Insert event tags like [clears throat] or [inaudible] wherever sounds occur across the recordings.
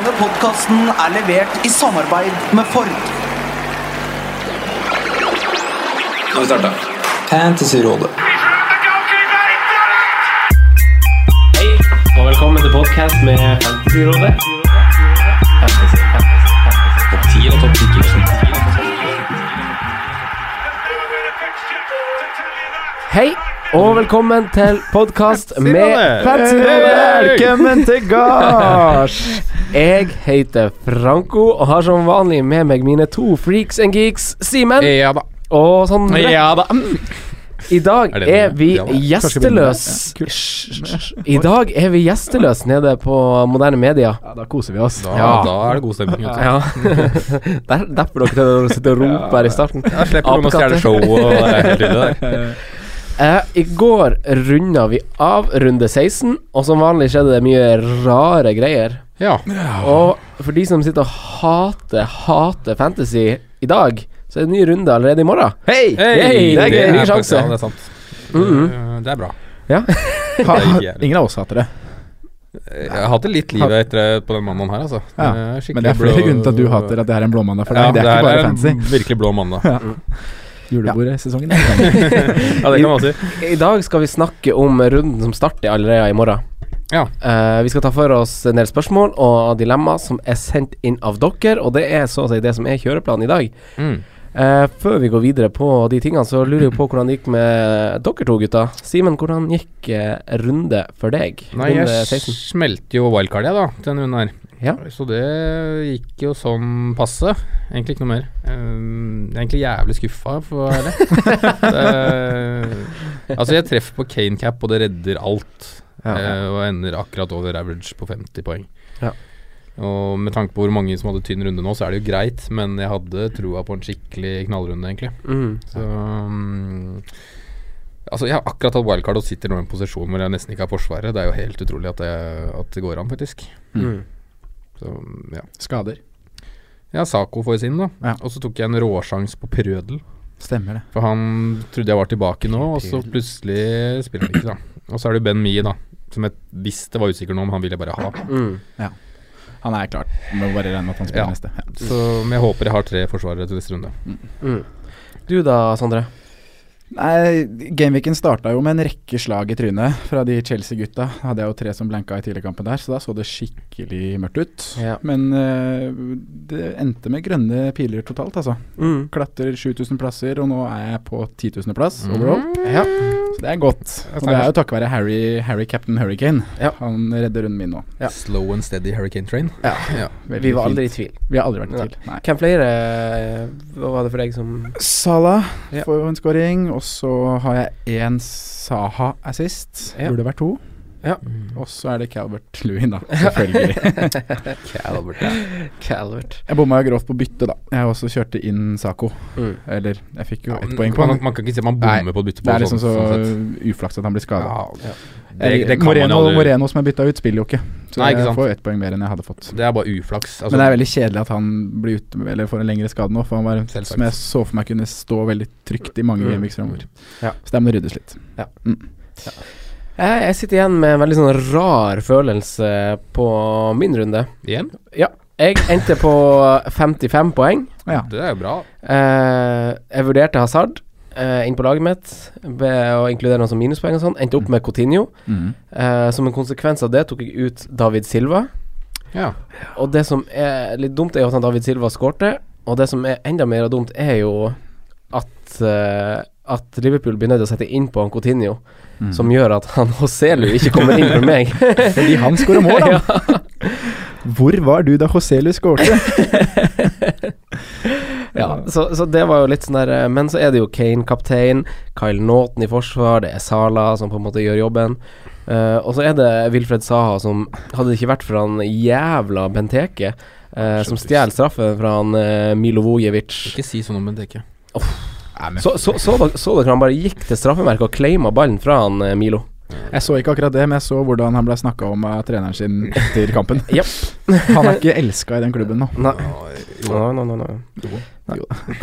Podkasten er levert i samarbeid med Ford. Nå har vi starta. Fantasyrådet. Hei, og velkommen til podcast med Fantasyrådet. Topp 10 og topp 10 Hei, og velkommen til podcast med Fantasyrådet. Velkommen til gards! [laughs] Jeg heter Franco og har som vanlig med meg mine to freaks and geeks, Simen Ja da. og Sondre. da. I dag Er er, det den? vi Ja, da. gjesteløs Hysj. I dag er vi gjesteløs nede på moderne media. Ja, da koser vi oss. Da, Ja. da er det god stemning. vet du. [laughs] Ja. Der, derfor dere til å sitte og rope her i starten. Da slipper du å Apekatter. stjele showet og det er helt ille der. Eh, I går runda vi av runde 16, og som vanlig skjedde det mye rare greier. [laughs] Ja. Og for de som sitter og hater, hater fantasy i dag, så er det en ny runde allerede i morgen. Hei! Hey, det er gøy. Ny sjanse. Ja, det er sant. Eh, Det er bra. Ha, Mm-hmm. ha, Det er jævlig. ingen av oss hater det. Jeg har hatt det litt livet etter på den mandagen her, altså. Ja. Eh, skikkelig Men det er flere blå- grunner til at du hater at det her er en blåmandag for deg. Ja, det er her ikke bare fancy. en virkelig blå mandag. Julebordsesongen er i gang. Ja, det kan man si. I dag skal vi snakke om runden som starter allerede i morgen. Ja. Eh, vi skal ta for oss en del spørsmål og dilemmaer som er sendt inn av dere, og det er så å si det som er kjøreplanen i dag. Mm. Eh, før vi går videre på de tingene, så lurer jeg på hvordan det gikk med dere to gutta. Simen, hvordan gikk eh, runde for deg? Nei, runde jeg 16. smelte jo wildcard, jeg, da, til denne runden her. eh, Ja. Så det gikk jo sånn passe. Egentlig ikke noe mer. Um, jeg er egentlig jævlig skuffa, for å være ærlig. [laughs] Det- altså, jeg treffer på Kane cap, og det redder alt. Ja. eh, og ender akkurat over average på 50 poeng. Ja. Og med tanke på hvor mange som hadde tynn runde nå, så er det jo greit, men jeg hadde trua på en skikkelig knallrunde, egentlig. Mm. Så um, Altså, jeg har akkurat hatt wildcard og sitter nå i en posisjon hvor jeg nesten ikke har forsvaret. Det er jo helt utrolig at, jeg, at det går an, faktisk. Mm. Så, mm, ja. Skader. Ja, Saco får sin, da. Ja. Og så tok jeg en råsjans på Prødel. Stemmer det. For han trodde jeg var tilbake nå, og så plutselig spiller han ikke, da. Og så er det Ben Mie, da. Som jeg visste var usikker nå, men han ville jeg bare ha. Mm. Han er klart. Må bare regne med at han spiller Ja. neste. Ja. Så, men jeg håper jeg har tre forsvarere til neste runde. Mm. Du da, Sondre? Nei, Gameweeken starta jo med en rekke slag i trynet fra de Chelsea-gutta. Hadde jeg jo tre som blanka i tidligere kampen der, så da så det skikkelig mørkt ut. Ja. Men eh, det endte med grønne piler totalt, altså. Mm. Klatrer 7000 plasser, og nå er jeg på 10 000 plass overall. Ja. Så det er godt. Og det er jo takket være Harry, Harry Captain Hurricane. Ja. Han redder runden min nå. Ja. Slow and steady Hurricane Train. Ja. Ja. Veldig Vi var fint. aldri i tvil. Vi har aldri vært Nei. i tvil. Nei. Hvem flere eh, Hva var det for deg som Salah Ja. får jo en scoring, og så har jeg én Saha assist. Ja. Burde vært to. Ja. Mm. Og så er det Calvert [laughs] Lewin, da. Selvfølgelig. Calvert. jeg bomma jo grovt på byttet, da. Jeg også kjørte inn Saco. Mm. Eller, jeg fikk jo Ja, ett men poeng på man, han. man kan ikke si at man Nei, bommer på å bytte på. Det er liksom så sånn uflaks at han blir skada. sett. Ja. Det, det kan man Moreno, jo aldri- Moreno som er bytta ut, spiller jo ikke. Så Nei, ikke sant. jeg får ett poeng mer enn jeg hadde fått. Det er bare uflaks. Altså, Men det er veldig kjedelig at han blir ute med, eller får en lengre skade nå, for han var en Selvsagt. som jeg så for meg kunne stå veldig trygt i mange Mm. gameweeks fremover. Ja. Så det må ryddes litt. Jeg, jeg sitter igjen med en veldig sånn rar følelse på min runde. Igjen, Jeg endte på 55 poeng. Ja. det er jo bra. Eh, jeg vurderte Hazard eh, inn på laget mitt ved å inkludere noen som minuspoeng og sånn. Endte opp med Coutinho. Mm. Eh, som en konsekvens av det tok jeg ut David Silva. Ja. Og det som er litt dumt, er jo at han David Silva skårte. Og det som er enda mer dumt, er jo at eh, at Liverpool blir nødt til å sette inn på han Coutinho, som gjør at han Hoselu ikke kommer inn for meg. Fordi han skårer mål, da! Hvor var du da Joselu skårte? Ja, så, så det var jo litt sånn der eh, Men så er det jo Kane kaptein, Kyle Naughton i forsvar, det er Salah som på en måte gjør jobben. Eh, og så er det Wilfred Saha som Hadde det ikke vært for han jævla Benteke, eh, som stjeler straffen fra han eh, Milo Vujevic Ikke si sånn om en dekke. Så, så, så, dere- så dere han bare gikk til straffemerket og claima ballen fra han eh, Milo? Jeg så ikke akkurat det, men jeg så hvordan han ble snakka om av treneren sin etter kampen. Japp. Han er ikke elska i den klubben nå. Nei. Nei, nei, nei, nei. Nei.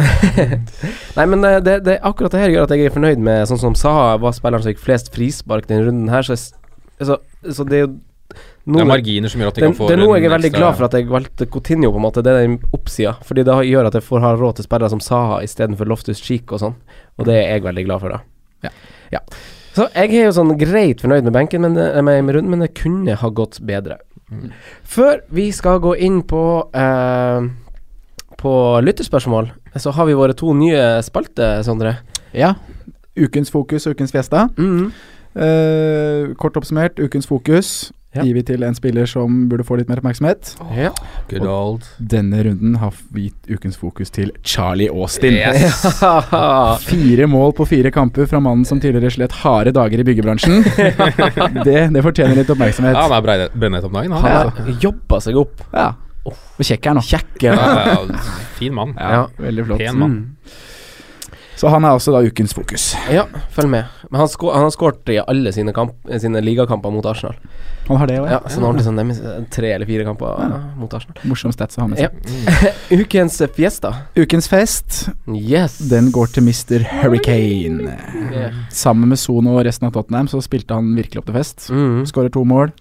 [laughs] Nei, men eh, det, det, akkurat det her gjør at jeg er fornøyd med Sånn som Saha var spilleren som fikk flest frispark denne runden her, så, jeg, s- altså, så det er jo Det noen- er marginer som gjør at de det, kan få det er noe jeg er en veldig ekstra- glad for at jeg valgte Coutinho, på en måte. Det er den oppsida. Fordi det gjør at jeg får ha råd til spillere som Saha istedenfor Loftus Cheek og sånn. Og det er jeg veldig glad for, da. Ja. Ja. Så jeg er jo sånn greit fornøyd med benken, men, eh, med, med runden, men det kunne ha gått bedre. Mm. Før vi skal gå inn på eh, på lytterspørsmål, så har vi våre to nye spalter, Sondre. Ja. Ukens fokus og ukens fiesta. Mm. Eh, kort oppsummert, ukens fokus Ja. gir vi til en spiller som burde få litt mer oppmerksomhet. Ja. Good old. Denne runden har vi gitt ukens fokus til Charlie Austin. Yes. Fire mål på fire kamper fra mannen som tidligere slet harde dager i byggebransjen. det, det fortjener litt Ja, oppmerksomhet. han er brei- brennhet om dagen, han. [laughs] Han altså. har jobba seg opp. Ja. Og kjekk er nå. Kjekke. [laughs] Ja, ja, ja, fin mann. Ja, veldig flott. Pen mann. Så han er også da ukens fokus. Ja, følg med. Men han, sko han har skåret i alle sine, kamp sine ligakamper mot Arsenal. Han har det òg, ja. Ja, så nå har han til sånn dem i tre eller fire kamper eh, mot Arsenal. Morsom stats å ha med seg. Ja. [laughs] Ukens fiesta. Ukens fest, Yes. den går til Mr. Hurricane. Yeah. Sammen med Sono og resten av Tottenham så spilte han virkelig opp til fest. Mm. Skårer to mål.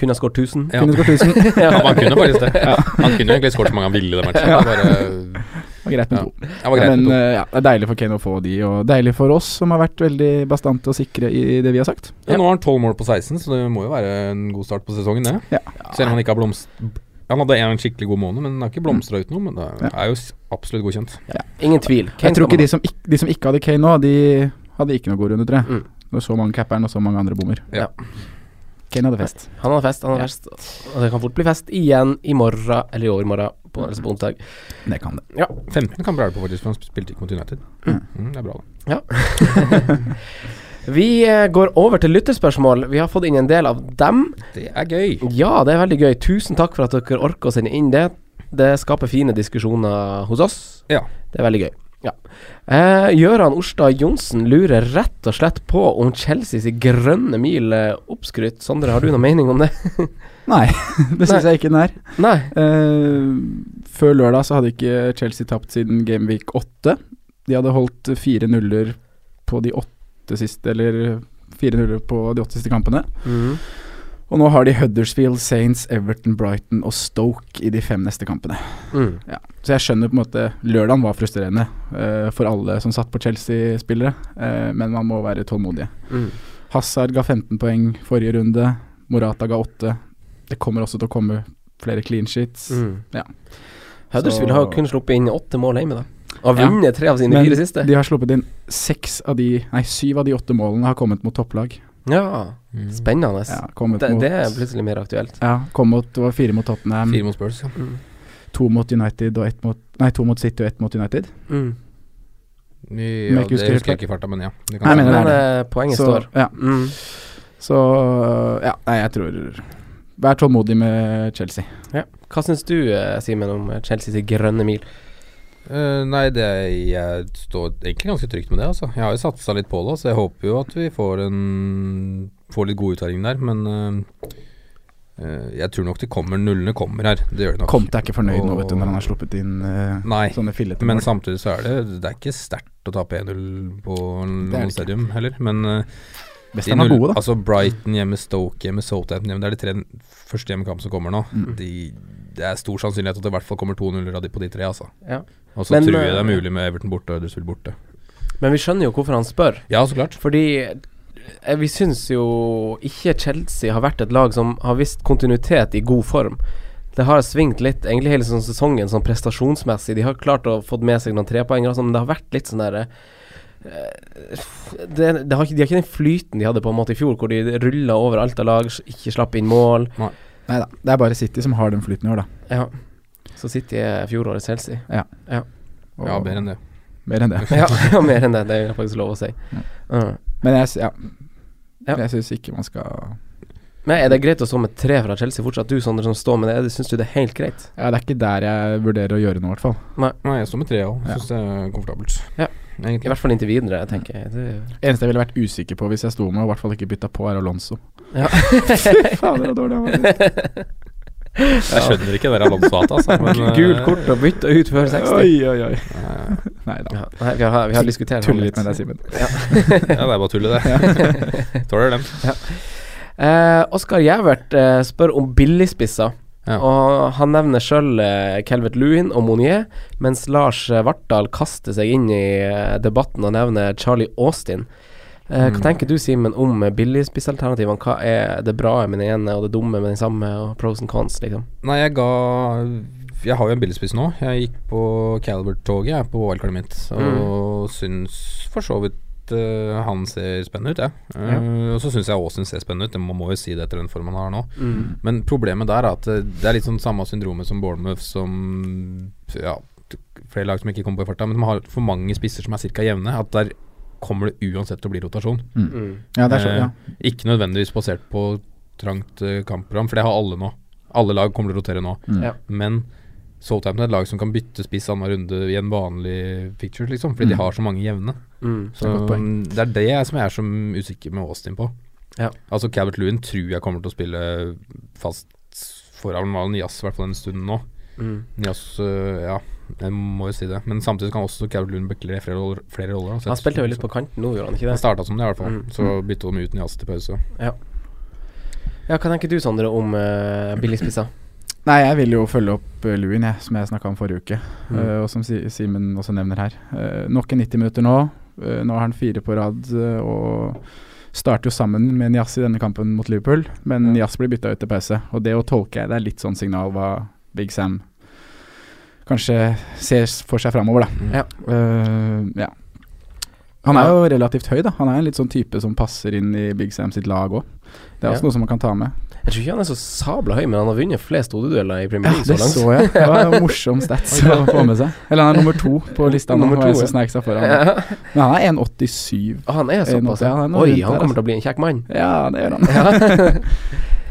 Kunne ha skåret 1000. [laughs] Ja. Kunne skåret 1000. Ja, men han kunne faktisk det. Han kunne egentlig skåret så mange han ville i den matchen. Det bare, Det var greit med Ja. to. det var greit Men med to. eh, ja, det er deilig for Kane å få de, og deilig for oss som har vært veldig bastante og sikre i det vi har sagt. Ja, nå har han 12 mål på 16, så det må jo være en god start på sesongen, det. Ja. Selv om han ikke har blomst... Han hadde en skikkelig god måned, men han har ikke blomstra ut noe. Men det er- er jo s- absolutt godkjent. Ingen tvil. Jeg tror ikke de som, ikk- de som ikke hadde Kane nå, de hadde ikke noe god runde, tror jeg. Mm. Når så mange capper'n og så mange andre bommer. Ja. Kane hadde fest. Han har fest, han har Ja. fest. Og det kan fort bli fest igjen i morgen, eller i overmorgen, på, altså på onsdag. Det kan det. [laughs] 15 kamper er det på, faktisk, for han spilte ikke mot United. Mm, det er bra, det. Vi eh, går over til lytterspørsmål. Vi har fått inn en del av dem. Det er gøy. Ja, det er veldig gøy. Tusen takk for at dere orker å sende inn det. Det skaper fine diskusjoner hos oss. Ja. Det er veldig gøy. Ja. Eh, Gøran Orstad Johnsen lurer rett og slett på om Chelseas grønne mil er oppskrytt. Sondre, har du noen mening [laughs] om det? Nei, det syns jeg ikke den er. Nei. Eh, før lørdag så hadde ikke Chelsea tapt siden Gameweek 8. De hadde holdt fire nuller på de åtte siste, eller fire nuller på de åtte siste kampene. Mm. Og nå har de Huddersfield, Saints, Everton, Brighton og Stoke i de fem neste kampene. Mm. Så jeg skjønner på en måte Lørdagen var frustrerende eh, for alle som satt på Chelsea-spillere, eh, men man må være tålmodige. Mm. Hazard ga 15 poeng forrige runde, Morata ga 8. Det kommer også til å komme flere clean sheets. Mm. Ja. Huddersfield Så- har jo kun sluppet inn åtte mål hjemme, da. Og har Ja. vunnet tre av sine Men fire siste. de har sluppet inn seks av de Nei, syv av de åtte målene har kommet mot topplag. Ja, Mm. spennende. Ja, kommet Det, mot det er plutselig mer aktuelt. ja, kom mot, det var fire mot Tottenham, Fire mot Spurs, ja. to mot United og ett mot Nei, to mot City og ett mot United. Mm. ja jeg ikke det husker helt husker jeg ikke i farta, men ja. Det Nei, stemme. men det er Men eh, poenget Så, står. ja, Mm. Så ja, nei, jeg tror Vær tålmodig med Chelsea. Ja. Hva syns du, eh, Simen, om eh, Chelseas grønne mil? Eh, nei, det, jeg står egentlig ganske trygt med det. Altså. Jeg har jo satsa litt på det, så jeg håper jo at vi får, en, får litt god uttelling der. Men eh, eh, jeg tror nok det kommer. Nullene kommer her. Det gjør det nok. Conte er ikke fornøyd nå, vet du, når han har sluppet inn eh, Nei, sånne fillete men mål. samtidig så er det Det er ikke sterkt å tape 1-0 på Det er noe det ikke. stadium heller. Men eh, Best de han er null- gode, da. Altså Brighton hjemme, Stoke hjemme, Southampton hjemme. Det er de tre første hjemmekampene som kommer nå. Mm. De, det er stor sannsynlighet at det i hvert fall kommer to nuller av de på de tre, altså. Ja. Og så Men, tror jeg det er eh, mulig med Everton borte og Huddersfield borte. Men vi skjønner jo hvorfor han spør. Ja, så klart. Fordi eh, vi syns jo ikke Chelsea har vært et lag som har vist kontinuitet i god form. Det har svingt litt egentlig hele sånn sesongen, sånn prestasjonsmessig. De har klart å få med seg noen trepoengere, og sånn, men det har vært litt sånn derre eh, det, det har ikke, De har ikke den flyten de hadde på en måte i fjor, hvor de rulla over alt av lag, ikke slapp inn mål. Nei da. Det er bare City som har den flyten i år, da. Ja. Så sitter jeg fjorårets Chelsea. Og- Ja, bedre enn det. Mer enn det. [laughs] Ja, mer enn det. Det er faktisk lov å si. Mm. Men jeg, s- ja. Ja. jeg syns ikke man skal Men Er det greit å stå med tre fra Chelsea fortsatt? Du, Sander, som står med det, syns du det er helt greit? Ja, det er ikke der jeg vurderer å gjøre noe, i hvert fall. Nei, jeg står med tre òg. Syns det er komfortabelt. Ja. I Egentlig. hvert fall inntil videre, jeg tenker jeg. Det- Eneste jeg ville vært usikker på hvis jeg sto med, og i hvert fall ikke bytta på, er Alonso. [laughs] Ja. [laughs] Fy faen, det var dårlig av meg. Jeg skjønner ikke det der landslaget, [laughs] altså. Men, eh, Gult [laughs] kort og bytte ut før 60. Oi, oi, oi. eh, Nei da. Ja, nei, vi, har, vi har diskutert han Tuller litt med deg, Simen. Ja, [laughs] det er bare tullet, det. Tåler dem. Eh, Eh, Oskar Jævert eh, spør om billigspisser. Ja. Og han nevner sjøl eh, Calvert Lewin og Monier, mens Lars eh, Vartdal kaster seg inn i eh, debatten og nevner Charlie Austin. Eh, Hva tenker du, Simen, om eh, billigspissalternativene? Hva er det bra med den ene, og det dumme med den samme, og pros and cons, liksom? Nei, jeg ga Jeg har jo en billigspiss nå. Jeg gikk på Calvert-toget jeg, på wildcardet mitt, og syns for så vidt eh, han ser spennende ut, jeg. Eh, og så syns jeg Aasen ser spennende ut, det- man må jo si det etter den formen han har nå. Men problemet der er at eh, det er litt sånn samme syndromet som Bournemouth, som ja, t- flere lag som ikke kommer på i farta, men som har for mange spisser som er ca. jevne. At der kommer det uansett til å bli rotasjon. Mm. Ja, det er så, ja. Eh, Ikke nødvendigvis basert på trangt eh, kampprogram, for det har alle nå. Alle lag kommer til å rotere nå. Mm. Ja. Men Southampton er et lag som kan bytte spiss annenhver runde i en vanlig picture, liksom, fordi de har så mange jevne. Mm. Så mm, Godt poeng. Det er det jeg som jeg er som usikker med Austin på. Ja. Altså Cabert Lewin tror jeg kommer til å spille fast foran Valen Jazz, i hvert fall en stund nå. Jazz, ja, jeg må jo si det. Men samtidig kan også Cabert Lewin bekle flere, roller- flere roller. da, så jeg- Han spilte jo litt på kanten nå, gjorde han ikke han det? starta som det, i hvert fall. Mm. Så bytta de ut Nias til pause. Ja, hva tenker du, Sondre, om uh, billigspisser? Nei, jeg vil jo følge opp eh, Lewin, jeg, som jeg snakka om forrige uke. Mm. eh, og som Si- Simen også nevner her. Eh, nok en 90 minutter nå. Eh, nå har han fire på rad eh, og starter jo sammen med Nias i denne kampen mot Liverpool. Men Ja. Nias blir bytta ut til pause, og det å tolke jeg, det er litt sånn signal hva Big Sam kanskje ser s- for seg framover, da. Ja. Eh, ja. Han er jo relativt høy, da. Han er en litt sånn type som passer inn i Big Sam sitt lag òg. Det er Ja. også noe som man kan ta med. Jeg tror ikke han er så sabla høy, men han har vunnet flest hodedueller i Premier League Det så langt. så jeg. Det var en morsom stats å få med seg. Eller han er nummer to på lista nå, Nummer var jeg to, ja. som snek seg foran. Ja. Men han er 1,87. Ah, Han er såpass, Ja, ja. han er noe Oi, rundt han der, altså. kommer til å bli en kjekk mann. Ja, det gjør han. [laughs]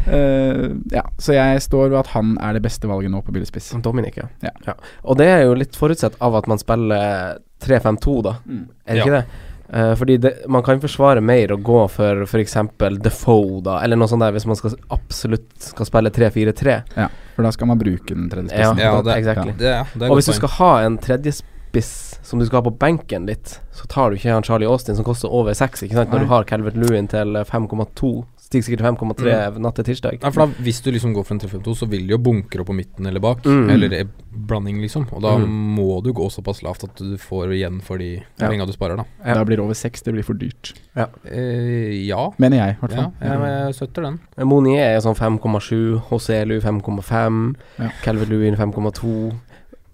Eh, ja, så jeg står ved at han er det beste valget nå på billigspiss. Dominic, ja. Ja. ja. Og det er jo litt forutsett av at man spiller eh, 3-5-2, da. Mm. Er det Ja. ikke det? Eh, fordi det, man kan forsvare mer å gå for f.eks. Defoe, da, eller noe sånt der, hvis man skal, absolutt skal spille 3-4-3. Ja, for da skal man bruke den tredje Ja, spissen. Ja, det- exactly. Det, er- det er godt Og hvis du poeng. skal ha en tredjespiss som du skal ha på benken litt, så tar du ikke han Charlie Austin som koster over 6, ikke sant, når Nei. du har Calvert Lewin til eh, 5,2, stiger sikkert til 5,3 natt til tirsdag. Nei, for da, Hvis du liksom går for en 3-5-2, så vil de jo bunkre opp på midten eller bak. Mm. Eller i blanding, liksom. Og da Mm. må du gå såpass lavt at du får igjen for de Ja. penga du sparer, da. Ja. Da blir det over seks, det blir for dyrt. Eh, ja. Mener jeg, i hvert ja. fall. Jeg, jeg støtter den. Monier er sånn 5,7, Hoselu 5,5, Ja. Calvert Lewin 5,2.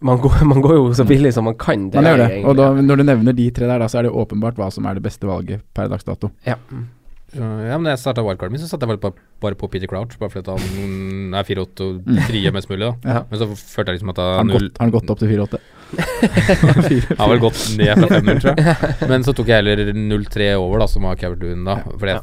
Man går, [laughs] man går jo så billig som man kan. Man er gjør det. egentlig- Og da, når du nevner de tre der, da, så er det jo åpenbart hva som er det beste valget per dags dato. ja. Så, ja, men da jeg starta wildcarden min, så satte jeg bare på, bare på Peter Crouch, bare fordi at han mm, er 4-8 og frie mest mulig, da. Ja. Men så følte jeg liksom at da Har han null- gått, har han gått opp [laughs] til [laughs] 4-8? Han har vel gått ned fra 5-0, tror jeg. Men så tok jeg heller 0-3 over, da, som var Cavert Loon, da. For det,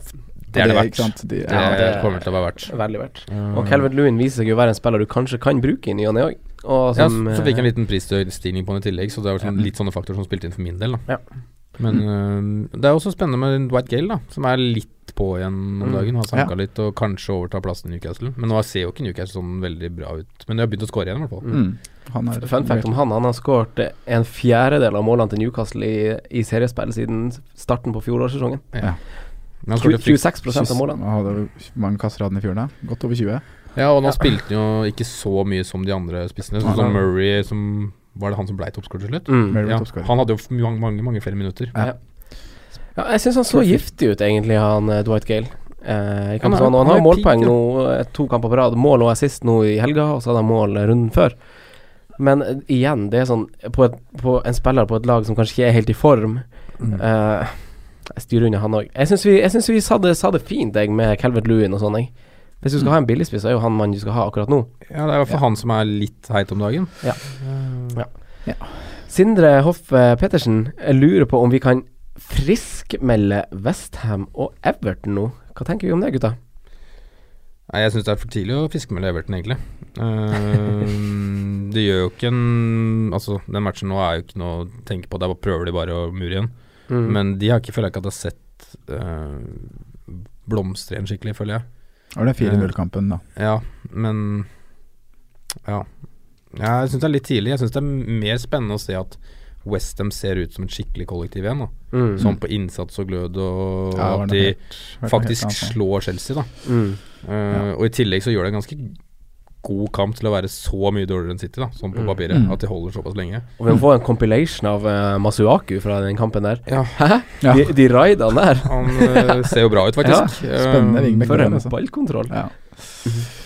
det er det ikke verdt. sant? De, Det, ja, det er- kommer til å være verdt. Veldig verdt. Og Calvert Lewin viser seg jo å være en spiller du kanskje kan bruke i ny og ne òg. Og Ja, som, så, så fikk jeg eh, en liten prisstigning på den i tillegg, så det er jo sånn, litt sånne faktorer som spilte inn for min del. Da. Ja. Men øh, det er også spennende med Dwight Gale, da, som er litt på igjen om Mm. dagen. Har sanka litt og kanskje overtar plassen i Newcastle. Men nå ser jo ikke Newcastle sånn veldig bra ut. Men de har begynt å skåre igjen, i hvert fall. mm. Han er- Fun fact om han, han har skåret en fjerdedel av målene til Newcastle i, i seriespill siden starten på fjorårssesongen. Men han skårte frykt- 26 av målene. Åh, det var mange kasser hadde han i fjor, da? Godt over 20. Ja, og nå spilte han jo ikke så mye som de andre spissene. Sånn som Murray, som Var det han som blei toppskårer til slutt? Mm. Murray Ja, toppskårer. han hadde jo f- mange, mange, mange flere minutter. Ja, jeg syns han så giftig ut, egentlig, han eh, Dwight Gale. Eh, i Han er- kampen som han, han og han har er målpoeng peak, ja. nå, eh, to kamper på rad. Mål og assist nå i helga, og så hadde han mål eh, runden før. Men eh, igjen, det er sånn på, et, på en spiller på et lag som kanskje ikke er helt i form eh, Jeg styrer unna han òg. Jeg syns vi, jeg synes vi sa, det, sa det fint, jeg, med Calvert Lewin og sånn, jeg. Hvis du skal ha en billigspiss, så er jo han mannen du skal ha akkurat nå. Ja, Det er i hvert fall han som er litt heit om dagen. Sindre Hoff eh, Petersen jeg lurer på om vi kan friskmelde Westham og Everton nå. Hva tenker vi om det, gutta? Nei, Jeg syns det er for tidlig å fiske med Everton, egentlig. Eh, [laughs] det gjør jo ikke en Altså, den matchen nå er jo ikke noe å tenke på. Der bare prøver de bare å mure igjen. Mm. Men de har ikke føler jeg ikke at jeg har sett eh, blomstre igjen skikkelig, føler jeg. Var det 4-0-kampen, da? Ja, men Ja. ja jeg syns det er litt tidlig. Jeg syns det er mer spennende å se at Westham ser ut som et skikkelig kollektiv igjen. da Mm. Sånn på innsats og glød, og Ja, det var at noe de helt- var noe helt faktisk annet, ja. slår Chelsea. da Mm. Eh, Og i tillegg så gjør det en ganske god kamp til å være så mye dårligere enn City, da sånn på Mm. papiret. Mm. At de holder såpass lenge. Og vi må få en compilation av eh, Masuaku fra den kampen der. Ja. Hæ? Ja. De, de raida han [laughs] der. Han eh, ser jo bra [laughs] ut, faktisk. spennende Eh, wingback. For der, en altså. ballkontroll. Ja.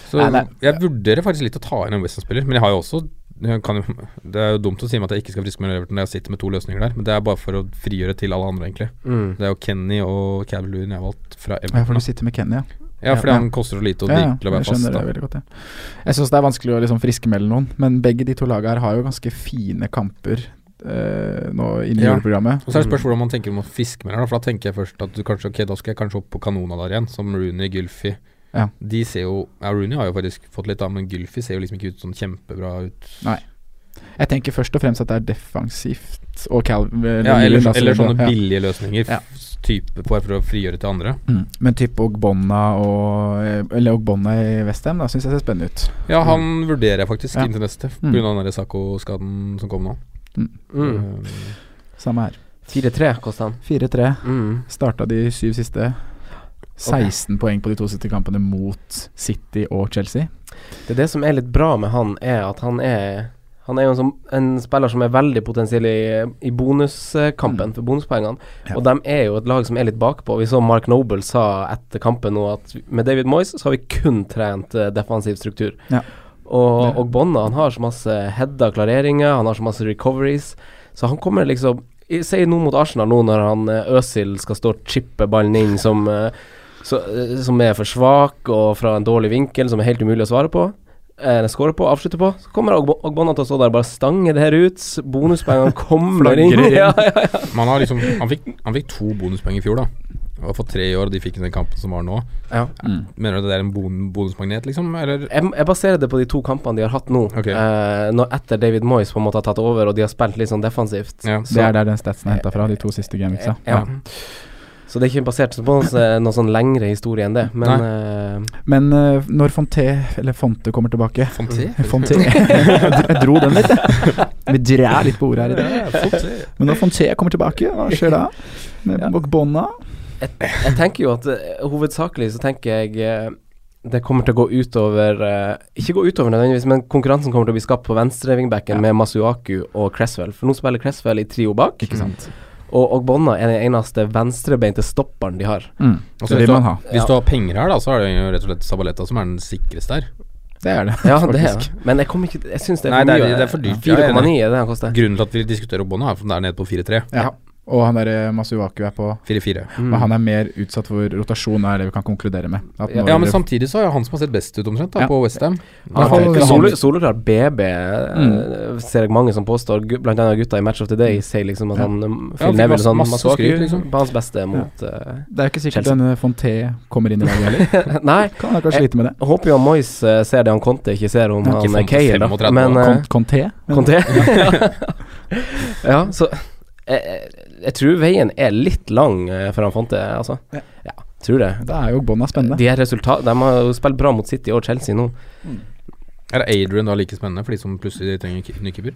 Så Nei, nei. jeg vurderer faktisk litt å ta inn en Westham-spiller, men jeg har jo også jeg kan jo, det er jo dumt å si meg at jeg ikke skal friske med Everton når jeg sitter med to løsninger der, men det er bare for å frigjøre til alle andre, egentlig. Mm. Det er jo Kenny og Cavaloon jeg har valgt fra ja, for Everton. du sitter med Kenny, ja. da. Ja, fordi ja. han koster så lite og Ja, ja, digg til å jeg være fast. skjønner det Da. veldig godt. Ja. Jeg syns det er vanskelig å liksom friskmelde noen, men begge de to lagene her har jo ganske fine kamper eh, nå inn i Ja. juleprogrammet. Og så er det spørsmålet om man tenker om å fiske med her, da, for da tenker jeg først at du kanskje, ok, da skal jeg kanskje opp på kanona der igjen, som Rooney, Gylfi. Ja. De ser jo Ja, Rooney har jo faktisk fått litt, da, men Gylfi ser jo liksom ikke ut sånn kjempebra ut. Jeg tenker først og fremst at det er defensivt og Cal... eh, Ja, eller, eller sånne billige løsninger, Ja. f- type bare for å frigjøre til andre. Mm. Men type Ogbonna og eh, Eller Ogbonna i Westham, da syns jeg ser spennende ut. Ja, han vurderer jeg faktisk Ja. inntil neste, Mm. pga. den der Sacco-skaden som kom nå. Mm. Eh, Samme her. 4-3 kosta han. 4-3. Mm. Starta de syv siste. 16 poeng på de to siste kampene mot City og Chelsea. Det er det som er litt bra med han, er at han er han er jo en, som, en spiller som er veldig potensiell i, i bonuskampen, for bonuspoengene. Mm. Ja. Og de er jo et lag som er litt bakpå. Vi så Mark Noble sa etter kampen nå at med David Moyes så har vi kun trent eh, defensiv struktur. Ja. Og, Det- og Bonna han har så masse heada klareringer, han har så masse recoveries. Så han kommer liksom i- Si nå mot Arsenal, nå når han eh, Øsil skal stå og chippe ballen inn som [laughs] eh, så, eh, som er for svak og fra en dårlig vinkel som er helt umulig å svare på. eh, Skåre på, avslutte på. Så kommer Ogbo- Ogbonna til å stå der og bare stange det her ut. [laughs] Bonuspoengene kommer inn. Flagrer inn. [laughs] Ja, ja, ja. Men han, har liksom, han, fikk, han fikk to bonuspoeng i fjor, da. Og for tre år, og de fikk den kampen som var nå. Mener du det er en bon bonusmagnet, liksom? Eller? Jeg, jeg baserer det på de to kampene de har hatt nå. Ok. Eh, når etter David Moyes på en måte har tatt over og de har spilt litt sånn defensivt. Ja. Det er der den statsen er henta fra, de to siste Ja. gameweeksa. Så det er ikke basert på noen, sånn- noen sånn lengre historie enn det. Men eh, Men eh, når Fonte, eller Fonte kommer tilbake Fonté? [laughs] Fonte Jeg dro den [laughs] litt, jeg. Vi drar litt på ordet her i dag. Men når Fonte kommer tilbake, hva skjer da? Med Ja. Bogbonna? jeg tenker jo at eh, hovedsakelig så tenker jeg eh, det kommer til å gå utover eh, Ikke gå utover nødvendigvis, men konkurransen kommer til å bli skapt på venstre wingbacken med Masuaku og Cresswell. For nå spiller Cresswell i trio bak, Mm. Ikke sant. og Ogbonna er den eneste venstrebeinte stopperen de har. Mm. Og så Det hvis vil du- man ha. Hvis du har penger her, da, så er det jo rett og slett Sabaleta som er den sikreste her. Det er det. [laughs] Ja, det er faktisk. Men jeg kommer ikke Jeg syns det er Nei, det for mye. eh, er- det er for dyrt. Ja, jeg er 4,9 enig. er det han koster. Grunnen til at vi diskuterer Ogbonna, er for den er nede på 4-3. Ja. Og han derre Masuaku er på 4-4. Mm. Men han er mer utsatt for rotasjon, er det vi kan konkludere med. At Ja, når- Ja, men samtidig så er jo han som har sett best ut, omtrent, da, Ja. på Westham. Ja, Han- han- Sole- sånn Soleklar BB eh, ser jeg mange som påstår, gu- blant annet gutta i Match of the Day sier liksom at Ja. han um, Ja, han Phil fikk Neville masse- sånn masse Masuaku skryt, liksom. på hans beste mot eh, [laughs] Det er jo ikke sikkert Chelsea. Eh, denne Fonte kommer inn i laget heller. [laughs] Nei, Kan han kanskje slite med det. jeg håper jo han Moyes eh, ser det han Conte ikke ser om Ja, ikke Fonte han Kayer, da. 35 Men da. eh, Kon- Conte? Conte ja. [laughs] ja, så jeg, jeg, jeg tror veien er litt lang eh, for han Fonte, altså. Ja. Ja, tror det. Da er jo Bonna spennende. De, er resultat, de har jo spilt bra mot City og Chelsea nå. Er Adrian da like spennende for de som plutselig trenger ki- ny keeper?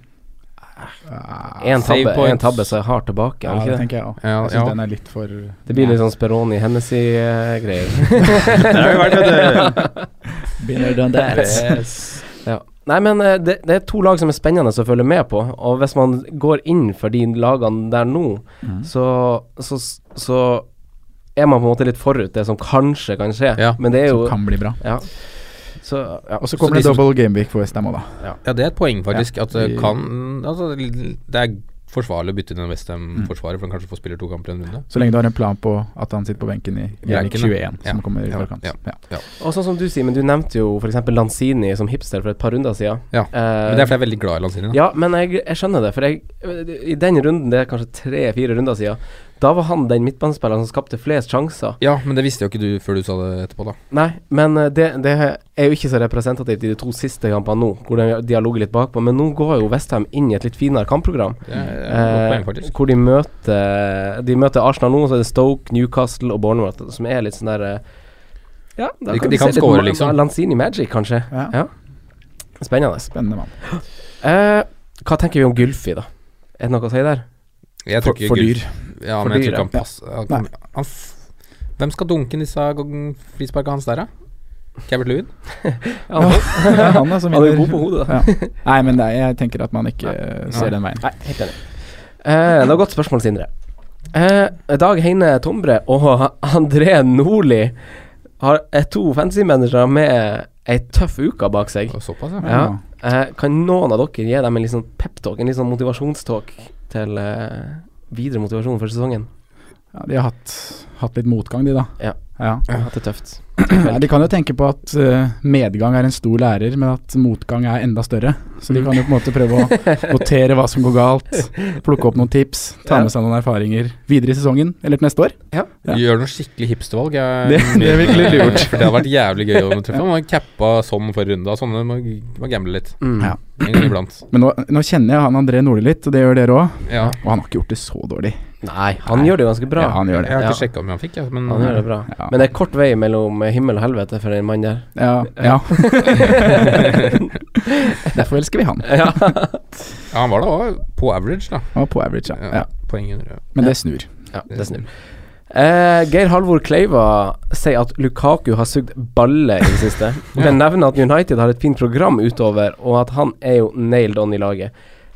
Ja, Én save tabbe, points. en tabbe så er hard tilbake. er han ja, ikke det det? tenker jeg òg. Ja, Jeg syns ja. den er litt for Det blir litt [laughs] sånn Speroni Hennessy-greier. [laughs] [laughs] Begynner den ja. Nei, men eh, det, det er to lag som er spennende å følge med på, og hvis man går inn for de lagene der nå, Mm. så, så, så er man på en måte litt forut det som kanskje kan skje, Ja. men det er jo Som kan bli bra. ja. Så, ja. Og så de kommer det som- double gameweek for Westham òg, da. Ja, det er et poeng, faktisk. At det Vi- kan Altså, det er forsvarlig å bytte inn en Mm. Westham-forsvarer, for han kanskje får spille to kamper i en runde. Så lenge du har en plan på at han sitter på benken i Gameweek Benken, 21, ja. som kommer i Ja, forkant. ja. Ja. Og sånn som du sier, men du nevnte jo f.eks. Lanzini som hipster for et par runder siden. Ja, Eh, Men det er fordi jeg er veldig glad i Lanzini. da. Ja, men jeg, jeg skjønner det, for jeg, i den runden, det er kanskje tre-fire runder siden, da var han den midtbanespilleren som skapte flest sjanser. Ja, men det visste jo ikke du før du sa det etterpå, da. Nei, men eh, det, det er jo ikke så representativt i de to siste kampene nå, hvor de, de har ligget litt bakpå. Men nå går jo Westham inn i et litt finere kampprogram. Det er, det er et eh, poeng, faktisk. hvor de møter De møter Arsenal nå, så er det Stoke, Newcastle og Bournemouth, som er litt sånn der eh, Ja, da De- kan de vi kan se litt score, Ma- liksom. Lanzini Magic, kanskje. Ja. Spennende. Spennende mann. Eh, hva tenker vi om Gulfi, da? Er det noe å si der? Jeg tror For, ikke for Gus- [laughs] [laughs] dyr. Ja, For men jeg dyr, tror ikke han ja. passer han kan- han f- Hvem skal dunke disse gong- frisparka hans der, da? Cabert Lewin? Ja, Det er han da, som Han er vinner. god på hodet, [laughs] da. Ja. Nei, men det er, jeg tenker at man ikke Nei. ser den veien. Nei, helt enig. Eh, det var godt spørsmål, Sindre. Eh, Dag Heine Tombre og [laughs] André Nordli har, er to fantasy-managere med ei tøff uke bak seg. Og Såpass, ja. Ja. Eh, kan noen av dere gi dem en litt sånn pep-talk, en litt sånn motivasjonstalk til eh, videre motivasjon for sesongen? Ja, de har hatt, hatt litt motgang, de da. Ja. ja. Jeg har Hatt det tøft. Nei, de kan jo tenke på at eh, medgang er en stor lærer, men at motgang er enda større. Så de kan jo på en måte prøve [laughs] å notere hva som går galt, plukke opp noen tips, ta med seg noen erfaringer videre i sesongen, eller til neste år. Ja. Gjør noe skikkelig hipstervalg. jeg- Det- det er virkelig lurt. [laughs] For det hadde vært jævlig gøy å treffe. Man cappa sånn for runde. og Sånne må, må gamble litt. Mm. Ja. En gang iblant. Men nå, nå kjenner jeg han André Nordli litt, og det gjør dere òg. Ja. Og han har ikke gjort det så dårlig. Nei, han gjør det ganske bra. Ja, han gjør Jeg det. har ikke Ja. sjekka om han fikk, jeg. Men Han gjør det bra. Ja. Men det er kort vei mellom himmel og helvete for den mannen der. Ja, [laughs] ja. Derfor elsker vi han. Ja. Ja, han var da også på average, da. Han var på average, ja. ja. Poeng under. Men det snur. [laughs] Ja, det snur. Eh, Geir Halvor Kleiva sier at Lukaku har sugd balle i det siste, Ja. men nevner at United har et fint program utover, og at han er jo nailed on i laget.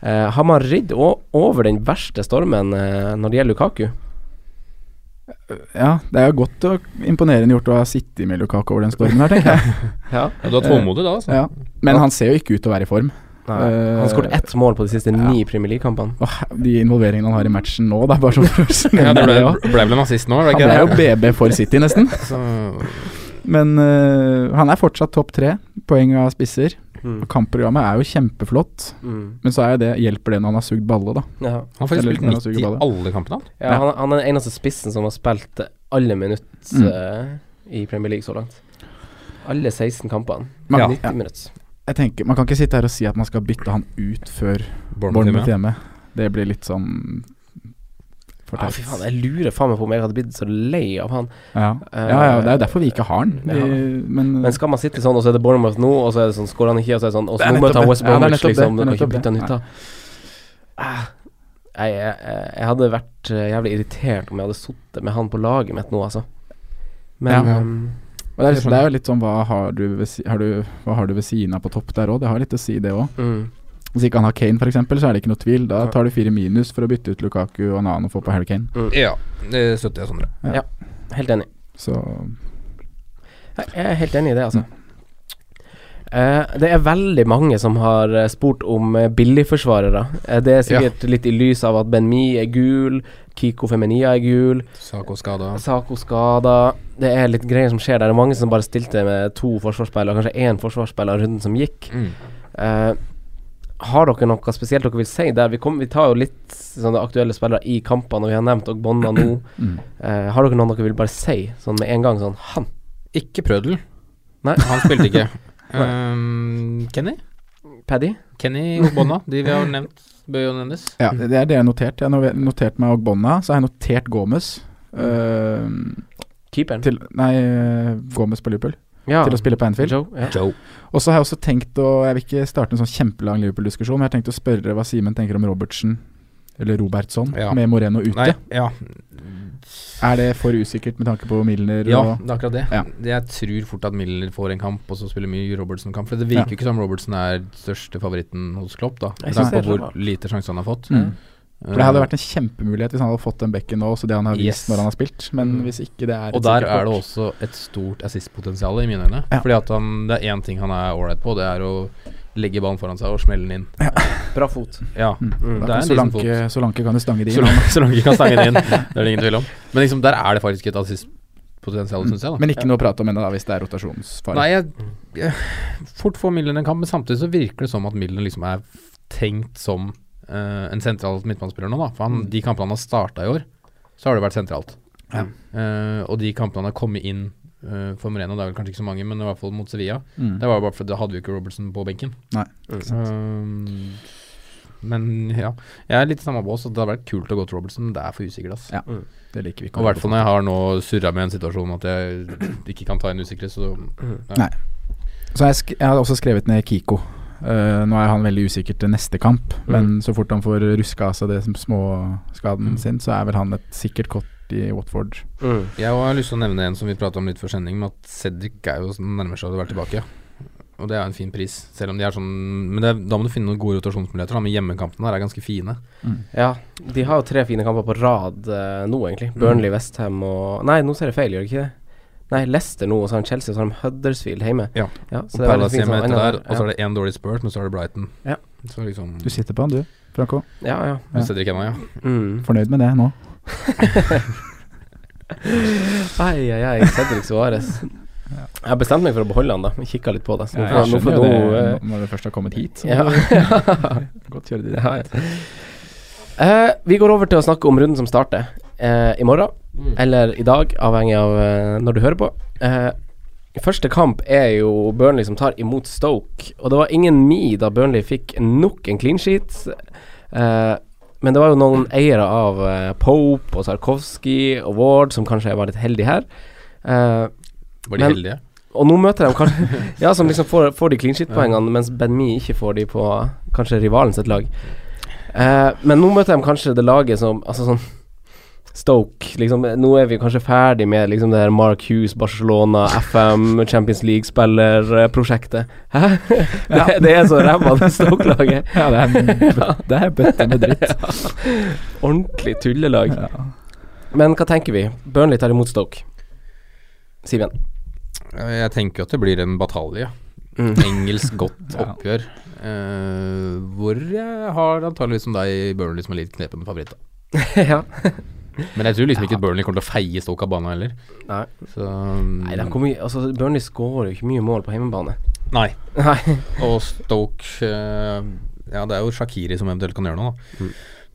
Eh, har man ridd o over den verste stormen eh, når det gjelder Lukaku? Ja, det er jo godt og imponerende gjort å ha sittet med Lukaku over den stormen her, tenker [laughs] jeg. Ja. Ja, du er tålmodig da, altså. Ja. Men han ser jo ikke ut til å være i form. Nei. Han skåret ett mål på de siste ni Premier League-kampene. Åh, de involveringene han har i matchen nå, det er bare sånn [laughs] for å Ja, det nevne ble, det også. ble vel en assist nå, var Han det er jo ikke det? BB for City, nesten. Så- Men øh, han er fortsatt topp tre poeng av spisser. Mm. Og Kampprogrammet er jo kjempeflott, Mm. men så er jo det, hjelper det når han har sugd balle, da. Ja. Han har faktisk Eller spilt når han midt suger i baller. alle kampene, han. Ja, Ja. han, han er den eneste spissen som har spilt alle minutt Mm. eh, i Premier League så langt. Alle 16 kampene. Man, ja. 90 minutt. Jeg tenker, man kan ikke sitte her og si at man skal bytte han ut før Bournemouth ja. hjemme. Det blir litt sånn for Ah, Ja, Ah, fy faen, teit. jeg lurer faen meg på om jeg hadde blitt så lei av han. Ja. ja, ja, det er jo derfor vi ikke har han. Eh, Vi, men, Men skal man sitte sånn, og så er det Bournemouth nå, og så er det sånn, skårer han ikke, og så er det sånn Og Det så er nå møter nettopp han West det. Ja, det er Bromwich, nettopp det. liksom. Du Det er kan ikke nettopp bytte han det. ut, da. Ah, Jeg, jeg, jeg hadde vært eh, jævlig irritert om jeg hadde sittet med han på laget mitt nå, altså. Men Ja. ehm, og det, er, liksom- det er jo litt sånn hva har du ved, si- har du, hva har du ved siden av på topp der òg? Det har litt å si, det òg. mm, Hvis ikke han har Kane, f.eks., så er det ikke noe tvil. Da tar du fire minus for å bytte ut Lukaku og en annen og få på Harry Kane. ja, det støtter jeg, Sondre. helt enig. Så Jeg jeg er helt enig i det, altså. Mm. Eh, det er veldig mange som har eh, spurt om eh, billigforsvarere. Eh, det er sikkert litt i lys av at Ben-Mi er gul, Kiko Feminia er gul, Sako skada. Sako skada. Det er litt greier som skjer der. Det er mange som bare stilte med to forsvarsspillere, og kanskje én forsvarsspiller runden som gikk. Mm. Eh, har dere noe spesielt dere vil si der? Vi, kom, vi tar jo litt sånne aktuelle spillere i kampene, og vi har nevnt Ogbonna nå. mm. Eh, har dere noen dere vil bare si sånn med en gang? Sånn han. Ikke Prødel. Nei. Han spilte [laughs] ikke. um, Kenny? Paddy? Kenny og Bonna, de vi har nevnt, bør jo nevnes. Ja, det det er det jeg har notert. Jeg har no- notert meg Ogbonna, så har jeg notert Gomez. eh, Keeperen? til Nei, eh, Gomez på Liverpool. ja. Til å spille på Anfield. Joe, ja. Joe. Og så har jeg også tenkt å Jeg vil ikke starte en sånn kjempelang Liverpool-diskusjon, men jeg har tenkt å spørre hva Simen tenker om Robertsen, eller Robertson, Ja. med Moreno ute. Nei, ja. Er det for usikkert med tanke på Milner ja, og det er akkurat det. Ja. Det Jeg tror fort at Milner får en kamp, og så spiller mye Robertson-kamp. For det virker Ja. ikke som Robertson er største favoritten hos Klopp, da. Jeg Med synes tanke det på er rart. hvor lite sjanse han har fått. Mm. For det Eh, hadde vært en kjempemulighet hvis han hadde fått den bekken nå, så det han har vist Yes. når han har spilt. Men hvis ikke det Mm. er et Og der sikkert er det kort. også et stort assist-potensial i mine øyne. Ja. Fordi at han, det er én ting han er ålreit på, det er å legge ballen foran seg og smelle den inn. Bra fot. Ja, Mm. det Da er kan en decent Solanke, Solanke kan jo stange det så inn. langt, så langt ikke kan stange [laughs] den inn. Det er det ingen tvil om. Men liksom, der er det faktisk et assist-potensial, syns jeg. da Men ikke noe å prate om ennå, da, hvis det er rotasjonsfare. Nei, jeg, jeg fort får Milner en kamp, men samtidig så virker det som at Milner liksom er tenkt som eh, en sentral midtbanespiller nå, da. For han, de kampene han har starta i år, så har det vært sentralt. Mm. Ja. Eh, og de kampene han har kommet inn eh, for Moreno, det er vel kanskje ikke så mange, men i hvert fall mot Sevilla, Mm. det var jo bare fordi da hadde vi jo ikke Robertson på benken. Nei, Um, men ja, jeg er litt i samme bås, at det hadde vært kult å gå til Robertson, men det er for usikkert, ass. Ja. Det liker vi Og ikke. i hvert fall når jeg har nå surra med en situasjon at jeg ikke kan ta inn usikre, så Så har jeg, sk jeg har også skrevet ned Kiko. Eh, nå er han veldig usikker til neste kamp, men så fort han får ruska av seg det som småskaden Mm. sin, så er vel han et sikkert kort i Watford. Mm. Jeg har lyst til å nevne en som vi prata om litt før sending, med at Cedric er jo som nærmer seg å være tilbake. Og det er jo en fin pris, selv om de er sånn Men det er, da må du finne noen gode rotasjonsmuligheter, da, men hjemmekampene her er ganske fine. Ja, de har jo tre fine kamper på rad eh, nå, egentlig. Mm. Burnley, Westham og Nei, nå ser jeg feil, gjør jeg ikke det? Nei, Leicester nå, og så har de Chelsea, og så har de Huddersfield hjemme. Ja. Ja, Og så det er veldig Palace fint. hjemme sånn, etter der, enda- og så er det én dårlig spurt, men så er det Brighton. Ja. Så liksom Du sitter på han du, Franco. Ja, ja. Ja. Cedric ennå, ja. ja. Mm. Fornøyd med det nå? Ai, ai, ai, Cedric [laughs] Suárez. Jeg har bestemt meg for å beholde han, da. Kikka litt på det. Så nå Ja, får- nå får jeg skjønner jo nå, det eh, nå- når du først har kommet hit. Så ja. [laughs] [laughs] [laughs] godt gjøre det. Ja, ja. Eh, vi går over til å snakke om runden som starter eh, i morgen, eller i dag, avhengig av eh, når du hører på. Eh, første kamp er jo Burnley som tar imot Stoke, og det var ingen mi da Burnley fikk nok en clean sheet. Eh, men det var jo noen eiere av eh, Pope og Sarkovsky og Ward som kanskje var litt heldige her. Eh, Var de Men- heldige? og nå møter de kanskje [laughs] Ja, som liksom får, får de clean shit-poengene, mens Ben-Mi ikke får de på kanskje rivalen sitt lag. Eh, men nå møter de kanskje det laget som Altså sånn Stoke, liksom Nå er vi kanskje ferdig med liksom det her Mark Hughes, Barcelona, FM, [laughs] Champions League-spillerprosjektet. Hæ? Det, det er så ræva, det Stoke-laget. Ja, det [laughs] er, det er bøtte med dritt. Ordentlig tullelag. Ja. Men hva tenker vi? Burnley tar imot Stoke. Simen. Jeg tenker jo at det blir en batalje. Mm. Engelsk godt Ja. oppgjør. eh, hvor jeg har antageligvis som deg Burnley som en litt knepen favoritt. da. [laughs] ja. Men jeg tror liksom ikke Burnley kommer til å feie Stoke av banen heller. Nei. Så, um, Nei, de kommer, jo- altså, Burnley skårer jo ikke mye mål på hjemmebane. Nei. Nei. [laughs] Og Stoke eh, Ja, det er jo Shakiri som eventuelt kan gjøre noe, da.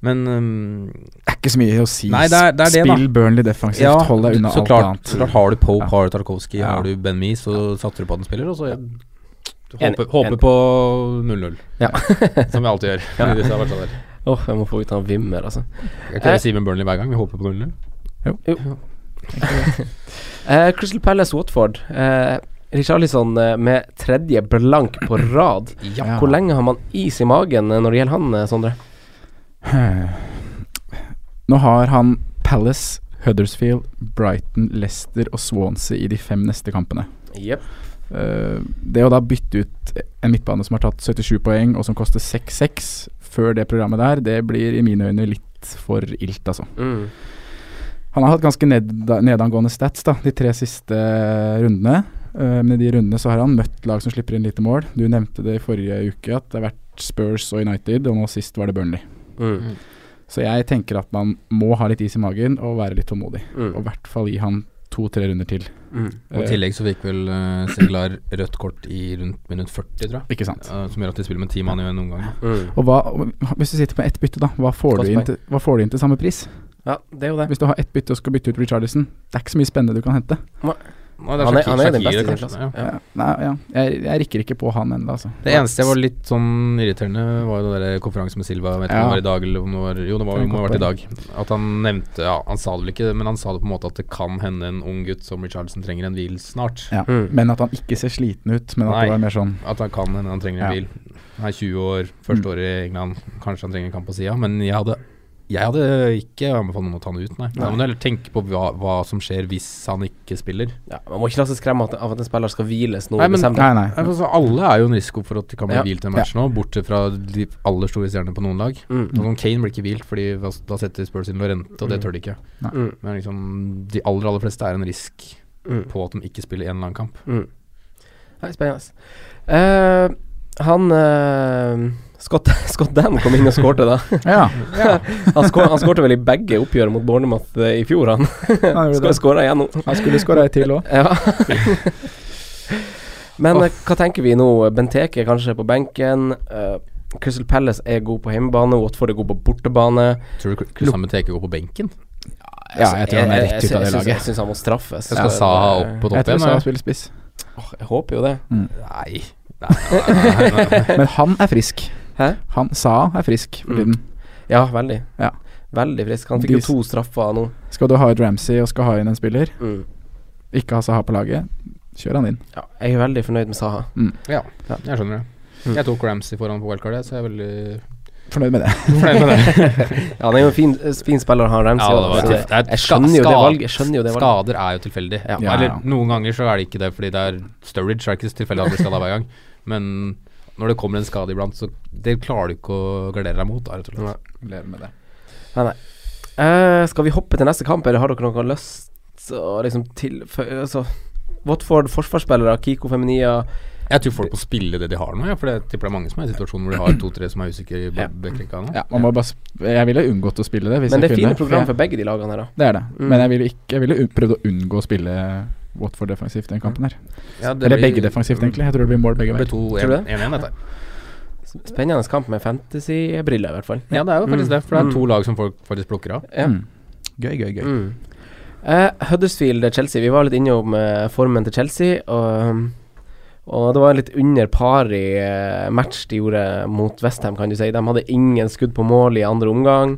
Men um, Det er ikke så mye å si. Nei, det er- det er det, da. Spill Burnley defensivt, hold deg unna så alt klart, annet. så klart har du Pope, Ja. har du Tarkovskij, Ja. har du Ben Mee, så satser du på at den spiller, og så ja. Enig, håper, håper enig. på 0-0. Ja. [laughs] som vi alltid gjør. [laughs] i disse avtalene. Åh, jeg må få ut han Wimmer, altså. Jeg kan si med Burnley hver gang, vi håper på 0-0. [laughs] Eh, Crystal Palace Watford. Eh, Richarlison eh, med tredje blank på rad. Ja. Hvor lenge har man is i magen eh, når det gjelder han, eh, Sondre? Nå har han Palace, Huddersfield, Brighton, Leicester og Swansea i de fem neste kampene. Jepp. Eh, det å da bytte ut en midtbane som har tatt 77 poeng, og som koster 6-6 før det programmet der, det blir i mine øyne litt for ilt, altså. Mm. Han har hatt ganske ned, nedangående stats da, de tre siste rundene. Eh, men i de rundene så har han møtt lag som slipper inn lite mål. Du nevnte det i forrige uke at det har vært Spurs og United, og nå sist var det Burnley. Mm. Så jeg tenker at man må ha litt is i magen og være litt tålmodig. Og i Mm. hvert fall gi han to-tre runder til. Mm. Og I Eh, tillegg så fikk vel uh, Siglar rødt kort i rundt minutt 40, tror jeg. Ikke sant. Eh, som gjør at de spiller med ti mann i en omgang. Mm. Og hva, hvis du sitter med ett bytte, da, hva får, du inn Kostbar. til, hva får du inn til samme pris? Ja, det er jo det. Hvis du har ett bytte og skal bytte ut Richardison, det er ikke så mye spennende du kan hente. Nei, det Han er, Shakir- han er Shakir, den beste i sin kanskje, klasse. ja. Ja. Ja, nei, ja. Jeg, jeg rikker ikke på han ennå, altså. Det eneste jeg var litt sånn irriterende, var jo den der konferansen med Silva. Jeg Vet ikke om Ja. det var i dag eller om det var Jo, det var, Det er må ha godt vært i dag. At han nevnte Ja, han sa det vel ikke, men han sa det på en måte at det kan hende en ung gutt som Richardson trenger en hvil snart. Ja. Mm. Men at han ikke ser sliten ut, men at Nei. det var mer sånn At han kan hende han trenger en Ja. hvil. Han er 20 år, første år i England, kanskje han trenger en kamp på sida. Men jeg hadde jeg hadde ikke anbefalt noen å ta han ut, nei. Da må du heller tenke på hva, hva som skjer hvis han ikke spiller. Ja, man må ikke la seg skremme at- av at en spiller skal hviles nå Nei, i men- desember. Nei, nei. Altså, alle er jo en risiko for at de kan bli Ja. hvilt i en match nå, bortsett fra de aller store stjernene på noen lag. Mm. Sånn som Kane blir ikke hvilt, Fordi hva- da setter Spurs inn Lorente, og det tør de ikke. Mm. Men liksom, de aller aller fleste er en risk Mm. på at de ikke spiller en eller annen kamp. Nei, spennende. altså. Eh, han eh, Scott, [laughs] Scott Dan kom inn og skårte, da. [laughs] Ja, Han, skår, han skårte vel i begge oppgjør mot Bournemouth eh, i fjor, han. han gjorde Skal det. skåre igjen nå. Han skulle skåra ei til òg. Ja. Men eh, hva tenker vi nå? Benteke er kanskje på benken. eh, Crystal Palace er god på hjemmebane. Watford er god på bortebane. Tror du Kusame Teke går på benken? Ja, jeg tror han er rett ut av det jeg syns- Jeg laget. syns han må straffes. Eh, Jeg skal Saha opp på topp Jeg tror igjen? Salah eller? spiller spiss. [laughs] Åh, Jeg håper jo det. Nei. Nei, nei, nei, nei. Men han er frisk. Hæ? Mm. Han Saha er frisk for tiden. Ja, veldig. Ja. Veldig frisk. Han fikk jo De- to straffer nå. Skal du ha ut Ramsey og skal ha inn en spiller, Mm. ikke ha Saha på laget, kjør han inn. Ja, jeg er veldig fornøyd med Saha. Ja, jeg skjønner det. Jeg tok Ramsey foran på wildcardet, så jeg er veldig Fornøyd [laughs] med det. fornøyd med det. Ja, han er jo en fin, eh, fin spiller, han Ramsey. Ja, det var også, tøft. Det er jeg, jeg skjønner jo det skade- valget. Jeg skjønner jo det valget. Skader er jo tilfeldig. Ja. Ja, Eller ja. noen ganger så er det ikke det, fordi det er Sturridge er ikke så tilfeldig at han blir skada hver gang. Men når det kommer en skade iblant, så det klarer du ikke å gardere deg mot. da, rett og slett. Nei. Lever med det. Eh, skal vi hoppe til neste kamp, eller har dere noe lyst å liksom tilføye altså, Watford forsvarsspillere, Kiko Feminia Jeg tror folk må spille det de har nå, ja, for jeg tipper det er mange som er i situasjonen hvor de har to-tre som er usikre i Ja. backrekka nå. Ja, man må bare sp jeg ville unngått å spille det hvis Men det er jeg fine kunne. program for jeg, begge de lagene her, da. det er det. Mm. Men jeg ville, ikke, jeg ville un- prøvd å unngå å spille Watford defensivt den kampen her. Ja, det Eller blir- begge defensivt, egentlig. Jeg tror det blir mål begge Det blir veier. to Tror du Mm. det? 1-1, dette. Spennende kamp med fantasy-briller, i hvert fall. Ja, det er jo faktisk Mm. det, for det Mm. er to lag som folk faktisk plukker av. Ja. Mm. Gøy, gøy, gøy. Mm. Eh, Huddersfield-Chelsea. Vi var litt innom eh, formen til Chelsea. Og, um, og det var en litt under par i eh, match de gjorde mot Westham, kan du si. De hadde ingen skudd på mål i andre omgang.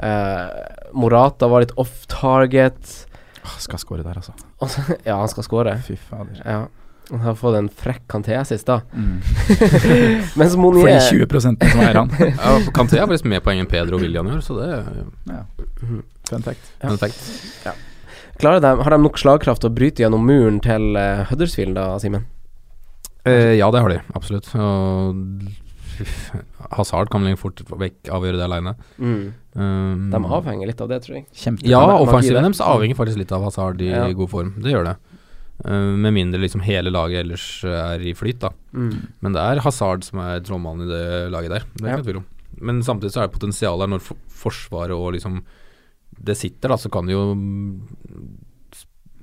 Eh, Morata var litt off target. Åh, skal skåre der, altså. Og så- [laughs] ja, han skal skåre. Fy fader. Ja. Han har fått en frekk kanté sist, da. Mm. Mens For de Monier 20 som eier han. Ja, for Kanté er faktisk mer poeng enn Pedro og William gjør, så det er jo Fun fact. Ja. en effekt. Klarer de, Har de nok slagkraft til å bryte gjennom muren til eh, Huddersfield, da, Simen? Eh, ja, det har de, absolutt. Og Hazard kan vel fort vekk avgjøre det aleine. Mm. Um, De avhenger litt av det, tror jeg. Kjempe Ja, Magi offensiven der. deres avhenger faktisk litt av Hazard i Ja. god form. Det gjør det. Eh, med mindre liksom hele laget ellers er i flyt, da. Mm. Men det er Hazard som er trollmannen i det laget der. Det er Ja. ikke noe tvil om. Men samtidig så er det potensial der når for forsvaret og liksom det sitter, da, så kan det jo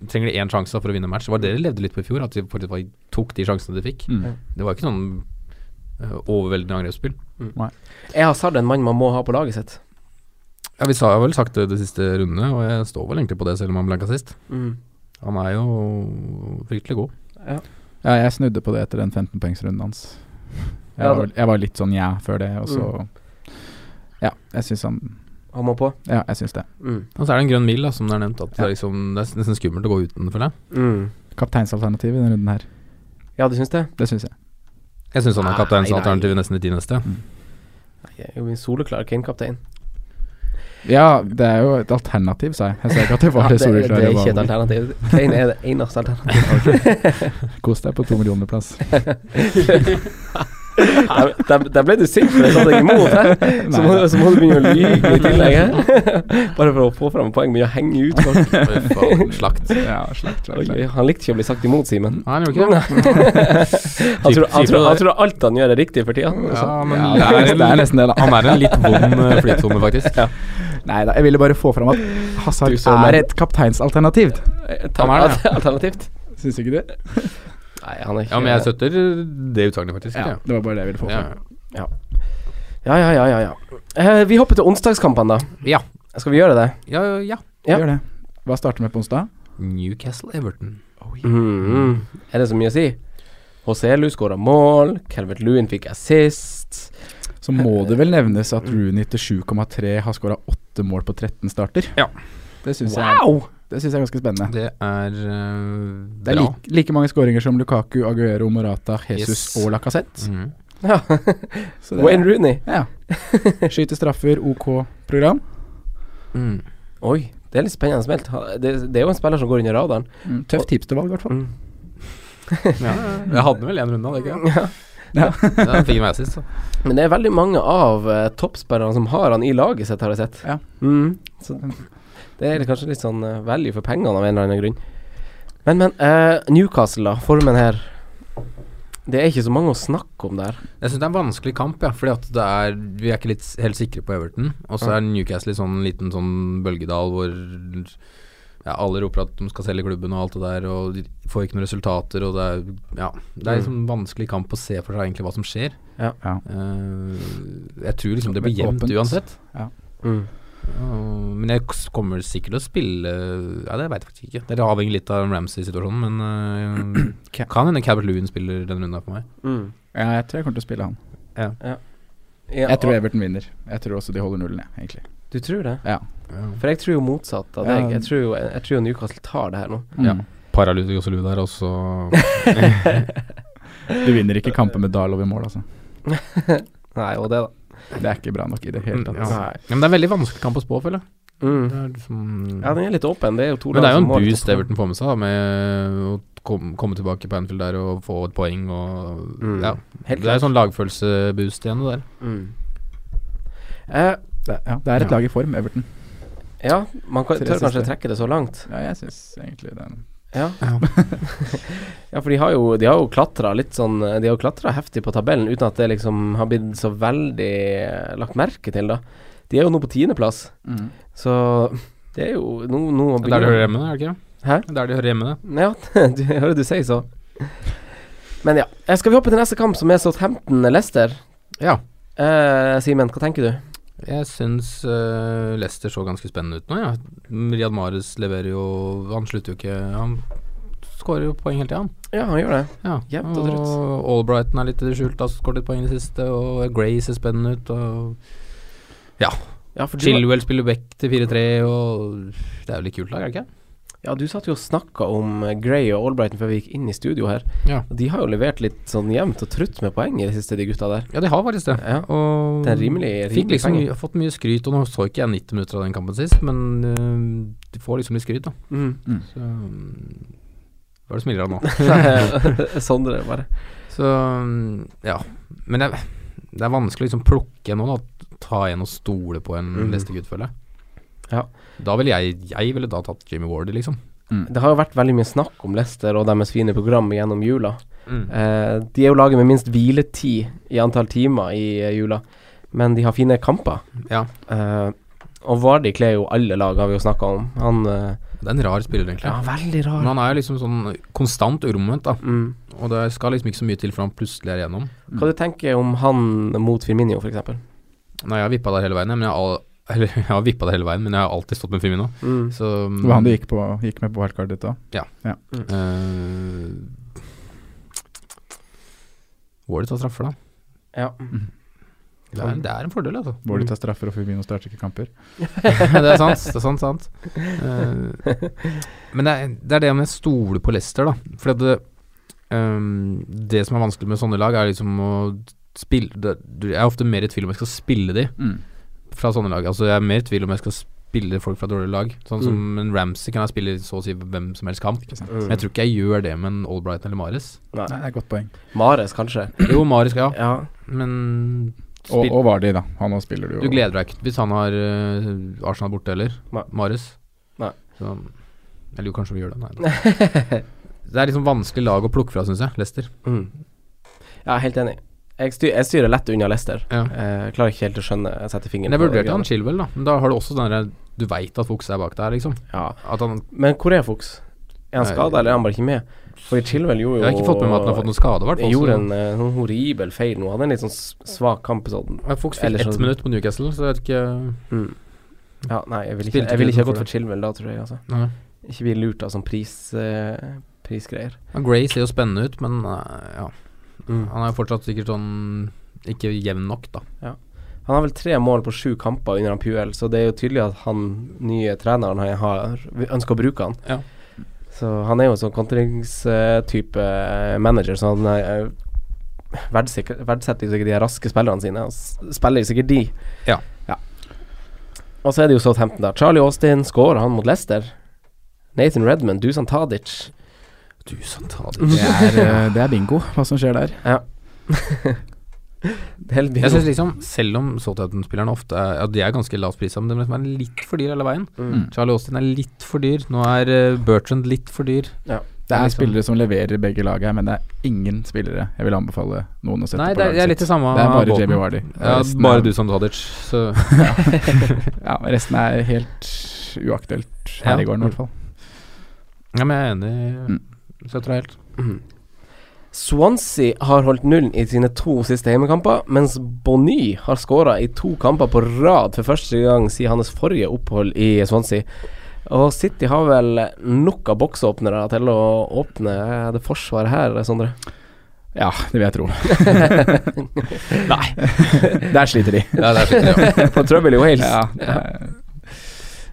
Trenger de én sjanse da for å vinne match. Det var det de levde litt på i fjor, at de faktisk bare tok de sjansene de fikk. Mm. Det var ikke sånn eh, overveldende angrepsspill. Er Hazard en mann man må ha på laget sitt? Ja, Vi sa, har vel sagt det de siste rundene, og jeg står vel egentlig på det selv om han blanka sist. Mm. Han er jo fryktelig god. Ja. Ja, jeg snudde på det etter den 15-poengsrunden hans. Jeg, Ja, var, det- vel- jeg var litt sånn ja før det, og så Ja, jeg syns han Han må på. Ja, jeg syns det. Mm. Og så er det en grønn mil, da, som det er nevnt. At det, Ja. er liksom, det er nesten skummelt å gå uten, føler jeg. Mm. Kapteinsalternativ i denne runden her. Ja, du syns det? Det syns jeg. Jeg syns han er Nei, kapteinsalternativet nesten i de neste. Jeg er jo en soleklar [laughs] Kane-kaptein. Ja, det er jo et alternativ, sa jeg. Jeg sa ikke at det var det det, store det er ikke et klare. alternativ. Kane er det eneste [laughs] alternativet. [laughs] Kos deg på to millioner plass. Der, der, der ble du sint, for jeg satte deg imot her. [laughs] Så må, så må du begynne å lyge [laughs] i tillegg. her. [laughs] Bare for å få fram poeng, begynne å henge ut folk. Fy faen, Slakt. Ja, slakt, slakt, Oi, slakt. han likte ikke å bli sagt [laughs] imot, Simen. Nei, han gjorde ikke det. Nei. Han tror, han, tror, han tror alt han gjør er riktig for tida. Ja, men Ja, det er, det er nesten det, da. Han er en litt vond eh, flytsone, faktisk. Nei da, jeg ville bare få fram at Hazard Du som- er et kapteinsalternativ. Han er eh, Alternativt. Syns ikke [laughs] du? Nei, han er ikke Ja, men jeg støtter det utsagnet, faktisk. Ja, ikke? det var bare det jeg ville få Ja. fram. Ja, ja, ja, ja. ja. Eh, vi hopper til onsdagskampene, da. Ja. Skal vi gjøre det? ja, ja. Ja. Gjør det. Hva starter med på onsdag? Newcastle Everton. Mm. Er det så mye å si? Hoselu skåra mål, Calvert Lewin fikk assist. Så må det vel nevnes Mm. at Rooney til 7,3 har skåra 8 mål på 13 starter. Ja. Det syns jeg, Wow! det synes jeg er ganske spennende. Det er eh, Det er bra. like, like mange skåringer som Lukaku, Aguero, Morata, Jesus Yes. og Lacassette. Mhm. Ja. Så det- Wayne Rooney. Ja. [laughs] Skyte straffer, OK program. Mm. Oi, det er litt spennende meldt. Ha- Det, det er jo en spiller som går under radaren. Mm, tøft tips til valg, i hvert fall. Mm. Ja, jeg hadde vel én runde, hadde jeg ikke? Ja. Ja, han fikk en assist, så. Men det er veldig mange av uh, toppspillerne som har han i laget sitt, har jeg sett. Ja. Mm. Så det er kanskje litt sånn eh, value for pengene av en eller annen grunn. Men, men. eh, Newcastle, da. Formen her. Det er ikke så mange å snakke om der. Jeg syns det er en vanskelig kamp, ja, fordi at det er Vi er ikke litt, s- helt sikre på Everton. Og så er Newcastle i sånn liten sånn bølgedal hvor ja, alle roper at de skal selge klubben og alt det der, og de får ikke noen resultater, og det er Ja. Det er Mm. liksom en vanskelig kamp å se for seg egentlig hva som skjer. Ja. Ja. Eh, jeg tror liksom det blir Det jevnt blir åpent. uansett. Mm. Og- men jeg s- kommer sikkert til å spille Ja, det veit jeg faktisk ikke. Det avhenger litt av Ramsey-situasjonen, men eh, kan hende Cabert Lewin spiller den runden her for meg. Mm. Ja, jeg tror jeg kommer til å spille han. Ja, Jeg tror og- Everton vinner. Jeg tror også de holder nullen, jeg, egentlig. Du tror det? Ja. For jeg tror jo motsatt av Ja. deg. Jeg tror jo, jeg tror jo Newcastle tar det her nå. Ja. Mm. Paralytikosolu der, og så Du vinner ikke kampen med Dal over mål, altså. Nei, og det, da. Det er ikke bra nok i det hele tatt. Mm. Ja. Ja, men det er veldig vanskelig kamp å spå, føler jeg. Mm. Det er liksom- Ja, den er litt åpen. Det er jo to men det er jo en som har litt boost opp- Everton får med seg, da, med å kom, komme tilbake på Anfield der og få et poeng og Mm. Ja. Helt det er klart. jo sånn lagfølelseboost igjen, det der. Mm. Eh, Det, ja, det er et Ja. lag i form, Everton. ja, man kan, Tre tør kanskje siste. trekke det så langt. Ja, jeg syns egentlig det. er- Ja. ja, for de har jo, de har jo klatra litt sånn De har jo klatra heftig på tabellen uten at det liksom har blitt så veldig eh, lagt merke til, da. De er jo nå på tiendeplass, Mm. så det er jo Nå, nå Det er der de hører hjemme, det, er det ikke? det? Hæ? Det er Der de hører hjemme, det. Ja, [laughs] du jeg hører du sier så. Men ja. Eh, Skal vi hoppe til neste kamp, som er Southampton-Lester? Ja. Eh, Simen, hva tenker du? Jeg syns eh, Leicester så ganske spennende ut nå, ja. Riyad Mahrez leverer jo Han slutter jo ikke Han skårer jo poeng hele tida, han. Ja, han gjør det. Ja. Jevnt og trutt. Albrighton er litt i det skjulte, har skåret litt poeng i det siste, og Gray ser spennende ut, og Ja, for du, Chilwell spiller back til 4-3, og Det er jo litt kult lag, er det ikke? ja, du satt jo og snakka om eh, Gray og Albrighton før vi gikk inn i studio her. Ja. Og De har jo levert litt sånn jevnt og trutt med poeng i det siste, de gutta der. Ja, de har faktisk det. Ja. Og Det er rimelig- fikk rimelig liksom penger. mye- fått mye skryt, og nå så ikke jeg 90 minutter av den kampen sist, men eh, de får liksom litt skryt, da. Så mm, Hva er det som smiler av nå? [laughs] Sondre, bare. Så mm, ja. Men det, er- det er vanskelig å liksom plukke noen og ta en og stole på en Mhm. neste gutt, føler jeg. Ja. Da ville jeg Jeg ville da tatt Jimmy Wardy, liksom. Det har jo vært veldig mye snakk om Leicester og deres fine program gjennom jula. Eh, de er jo laget med minst hviletid i antall timer i eh, jula, men de har fine kamper. Ja. Eh, og Vardi kler jo alle lag, har vi jo snakka om. Han eh, Det er en rar spiller, egentlig. Ja, veldig rar. Men han er jo liksom sånn konstant uromoment, da. Mm. Og det skal liksom ikke så mye til før han plutselig er igjennom. Hva du tenker om han mot Firminio, f.eks.? Nei, jeg har vippa der hele veien, jeg, men jeg har, al [laughs] eller, jeg har vippet der hele veien, men jeg har alltid stått med Firmino. Mm. Så Det var han du gikk, på, gikk med på wildcardet ditt òg. eh, Wardy tar straffer, da. Ja. Det er, det er en fordel, altså. Hvor de tar straffer og Firmino starter ikke kamper. [laughs] det er sant. Det er sant, sant. Eh, men det er, det er det med å stole på Leicester, da. For at det, ehm, det som er vanskelig med sånne lag, er liksom å spille det, du- Jeg er ofte mer i tvil om jeg skal spille de fra sånne lag. Altså Jeg er mer i tvil om jeg skal spille folk fra dårlige lag. Sånn som en Ramsey kan jeg spille så å si hvem som helst kamp. Ikke sant? Mm. Men jeg tror ikke jeg gjør det med en Albrighton eller [clears throat] Mares. Nei, Nei. det er et godt poeng. Mares, kanskje. Jo, Mares skal jeg ha, Ja. men Og, spill- og Vardy, da. Han òg spiller du jo. Du gleder deg ikke hvis han har eh, Arsenal borte heller? Nei. Marius? Nei. Så, eller jo, kanskje vi gjør det. Nei. da. [laughs] det er liksom vanskelig lag å plukke fra, syns jeg. Leicester. Mm. Ja, helt enig. Jeg, styr, jeg styrer lett unna Leicester. Ja. Eh, klarer ikke helt å skjønne Jeg setter fingeren Men jeg på det vurderte han greiene. Chilwell, da. Men da har du også den derre Du veit at Fuchs er bak der, liksom. Ja. At han Men hvor er Fuchs? Er han Nei. skada, eller er han bare ikke med? Fordi Chilwell gjorde jo Jeg har ikke fått med meg at han har fått noen skade, i hvert fall. Gjorde så- en eh, sånn horribel feil nå. Han er en litt sånn s- svak kamp i sånn. Ja, Fuchs Eller fikk ett så- minutt på Newcastle, så jeg vet ikke Mm. Ja, nei, jeg ville ikke, Spilte jeg ville ikke ikke gått for for Chilwell da, tror jeg. Altså. Nei. Ikke bli lurt av sånn pris, eh, prisgreier. Ja, Gray ser jo spennende ut, men eh, ja. Mm. Han er jo fortsatt sikkert sånn ikke jevn nok, da. Han har vel tre mål på sju kamper under han Puel, så det er jo tydelig at han nye treneren han har, ønsker å bruke han. Ja. Så han er jo en sånn kontringstype manager, så han eh, verdsetter verdsetter jo sikkert de raske spillerne sine. Han s- spiller jo sikkert de. Ja. Og så er det jo Southampton, da. Charlie Austin scorer han mot Leicester. Nathan Redman, Dusan Tadic. Du som tar Det er, eh, det er bingo, hva som skjer der. Det er helt Jeg bingo. synes liksom, selv om Southampton-spillerne ofte er, ja, de er ganske lavt prisa, men de liksom er litt for dyr hele veien. Mm. Charlie Austin er litt for dyr. Nå er eh, Bertrand litt for dyr. Det er Liksom- spillere som leverer begge lag her, men det er ingen spillere jeg vil anbefale noen å sette Nei, på det er, laget jeg er sitt. litt det samme. Det er bare båten. Jamie Vardy. Ja, Resten er- bare du som Tadic. [laughs] Så Ja, resten er helt uaktuelt her Ja. i gården, i hvert fall. Ja, men jeg er enig. Mm. Støtter deg helt. Swansea har holdt nullen i sine to siste hjemmekamper, mens Bonny har skåra i to kamper på rad for første gang siden hans forrige opphold i Swansea. Og City har vel nok av boksåpnere til å åpne det forsvaret her, Sondre. Ja, det vil [laughs] jeg [laughs] tro. Nei. Der sliter de. Ja, det er skikkelig, ja. på Trouble i Wales. Ja, det er-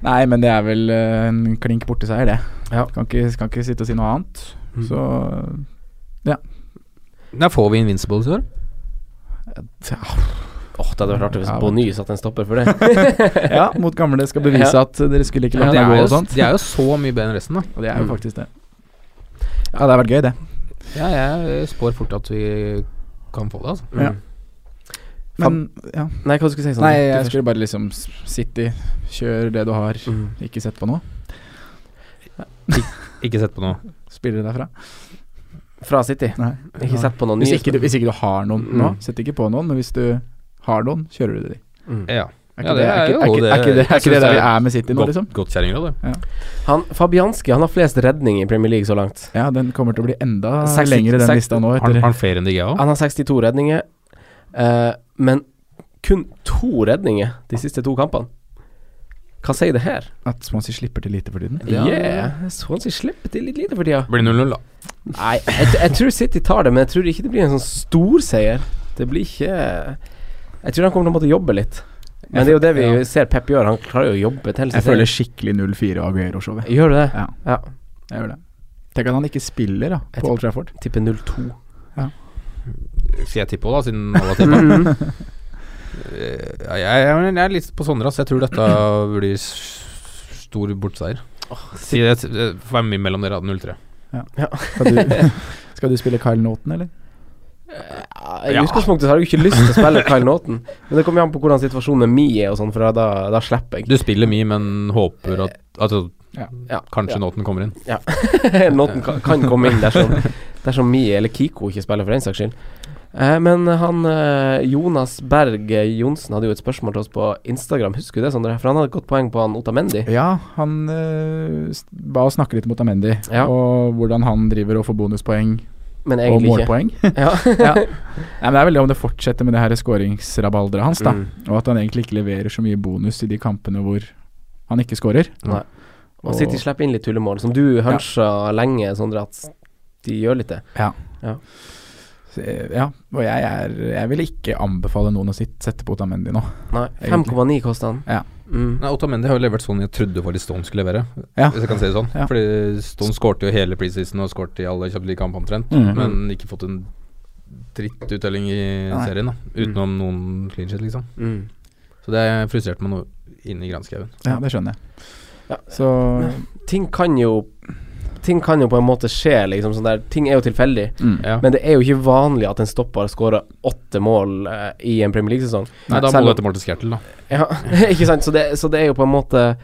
Nei, men det er vel eh, en klink borti seier, det. Ja. Kan, ikke, kan ikke sitte og si noe annet. Mm. Så [laughs] Der får vi Invincibles i år. Åh, det hadde vært artig hvis Ja, Bonny satte en stopper [laughs] for det. Ja, [laughs] mot gamle skal bevise Ja. at dere skulle ikke Ja, latt de, er meg gå jo, og sånt. de er jo så mye bedre enn resten, da. Og det er jo Mm. faktisk det. Ja, det har vært gøy, det. Ja, jeg spår fort at vi kan få det, altså. Ja. Mm. Men ja. Nei, hva skulle du si? Sondre? Nei, Du jeg først. skulle bare liksom s- City, kjør det du har. Mm. Ikke sett på noe. Ikke sett på noe. Spillere derfra. Fra City. Nei. Ikke sett på noen Hvis nye. ikke, du, hvis ikke du har noen nå, Mm. sett ikke på noen, men hvis du har noen, kjører du de. Mm. Ja. Ja, Er det ikke det, er er ikke, jo er ikke, er ikke det, er Jeg ikke synes det der det vi er er med City nå, Godt- liksom? Godt kjerringråd, det. Han, Fabianski han har flest redning i Premier League så langt. Ja, den kommer til å bli enda Seks- lengre, den seks- lista nå. Har han- Etter. har han flere enn de òg? Ah. Han har 62 redninger, eh, men kun to redninger de siste to kampene. Hva sier det her? At Swansea slipper til lite for tiden. Ja. Yeah, Swansea slipper til litt lite for tida. Blir 0-0, da. Nei, jeg, jeg tror City tar det, men jeg tror ikke det blir en sånn stor seier. Det blir ikke Jeg tror han kommer til å måtte jobbe litt. Men det er jo det vi Ja. ser Pep gjør, han klarer jo å jobbe til Jeg føler skikkelig 0-4 Aguero-showet. Gjør du det? Ja. Ja. Jeg gjør det. Tenk at han ikke spiller da, Jeg på Old Trafford. Tipper 0-2. Skal jeg tippe òg, da, siden alle har [laughs] tippa? Mhm. jeg, jeg, jeg er litt på Sondre, så jeg tror dette blir s- stor bortseier. Si det eh, Får være med mellom dere, da, 0-3. Skal du, [laughs] skal du spille Kyle Naughton, eller? Ja, I Ja. utgangspunktet så har jeg jo ikke lyst til å spille Kyle Naughton, men det kommer jo an på hvordan situasjonen med Mi er og sånn, for da, da slipper jeg. Du spiller mye, men håper at, at Ja. Ja. kanskje Ja. Nåten kommer inn. Naughton kan, kan komme inn dersom, dersom Mi eller Kiko ikke spiller, for den saks skyld. Eh, men han eh, Jonas Berg Johnsen hadde jo et spørsmål til oss på Instagram, husker du det, Sondre? For han hadde et godt poeng på han Otamendi. Ja, han eh, s- ba oss snakke litt mot Amendi, Ja. og hvordan han driver og får bonuspoeng Men og egentlig ikke. målpoeng. [laughs] Ja. Nei, men Det er vel det om det fortsetter med det her skåringsrabalderet hans, da. Mm. Og at han egentlig ikke leverer så mye bonus i de kampene hvor han ikke skårer. Nei. Og City slipper inn litt tullemål, som du huncha lenge, Sondre, at de gjør litt det. Så, eh, Ja, og jeg, er, jeg vil ikke anbefale noen å sitte, sette på Otamendi nå. Nei, Egentlig. 5,9 koster han. Ja. Mm. Nei, Otamendi har jo levert sånn jeg trodde faktisk Stone skulle levere, Ja. hvis jeg kan si det sånn. Ja. Fordi Stone skårte jo hele preseason og skårte i alle Champions League-kamper omtrent, Mhm. men ikke fått en drittuttelling i Nei. serien, da. Utenom noen clean shit, liksom. Mm. Så det frustrerte meg noe inni granskauen. Ja, det skjønner jeg. Ja. Så ting kan jo Ting kan jo på en måte skje, liksom. Sånn der. Ting er jo tilfeldig. mm. Ja. Men det er jo ikke vanlig at en stopper skårer åtte mål eh, i en Premier League-sesong. Nei, da selv må om- du etter mål til Skertel, da. Ja, [laughs] ikke sant? Så det, så det er jo på en måte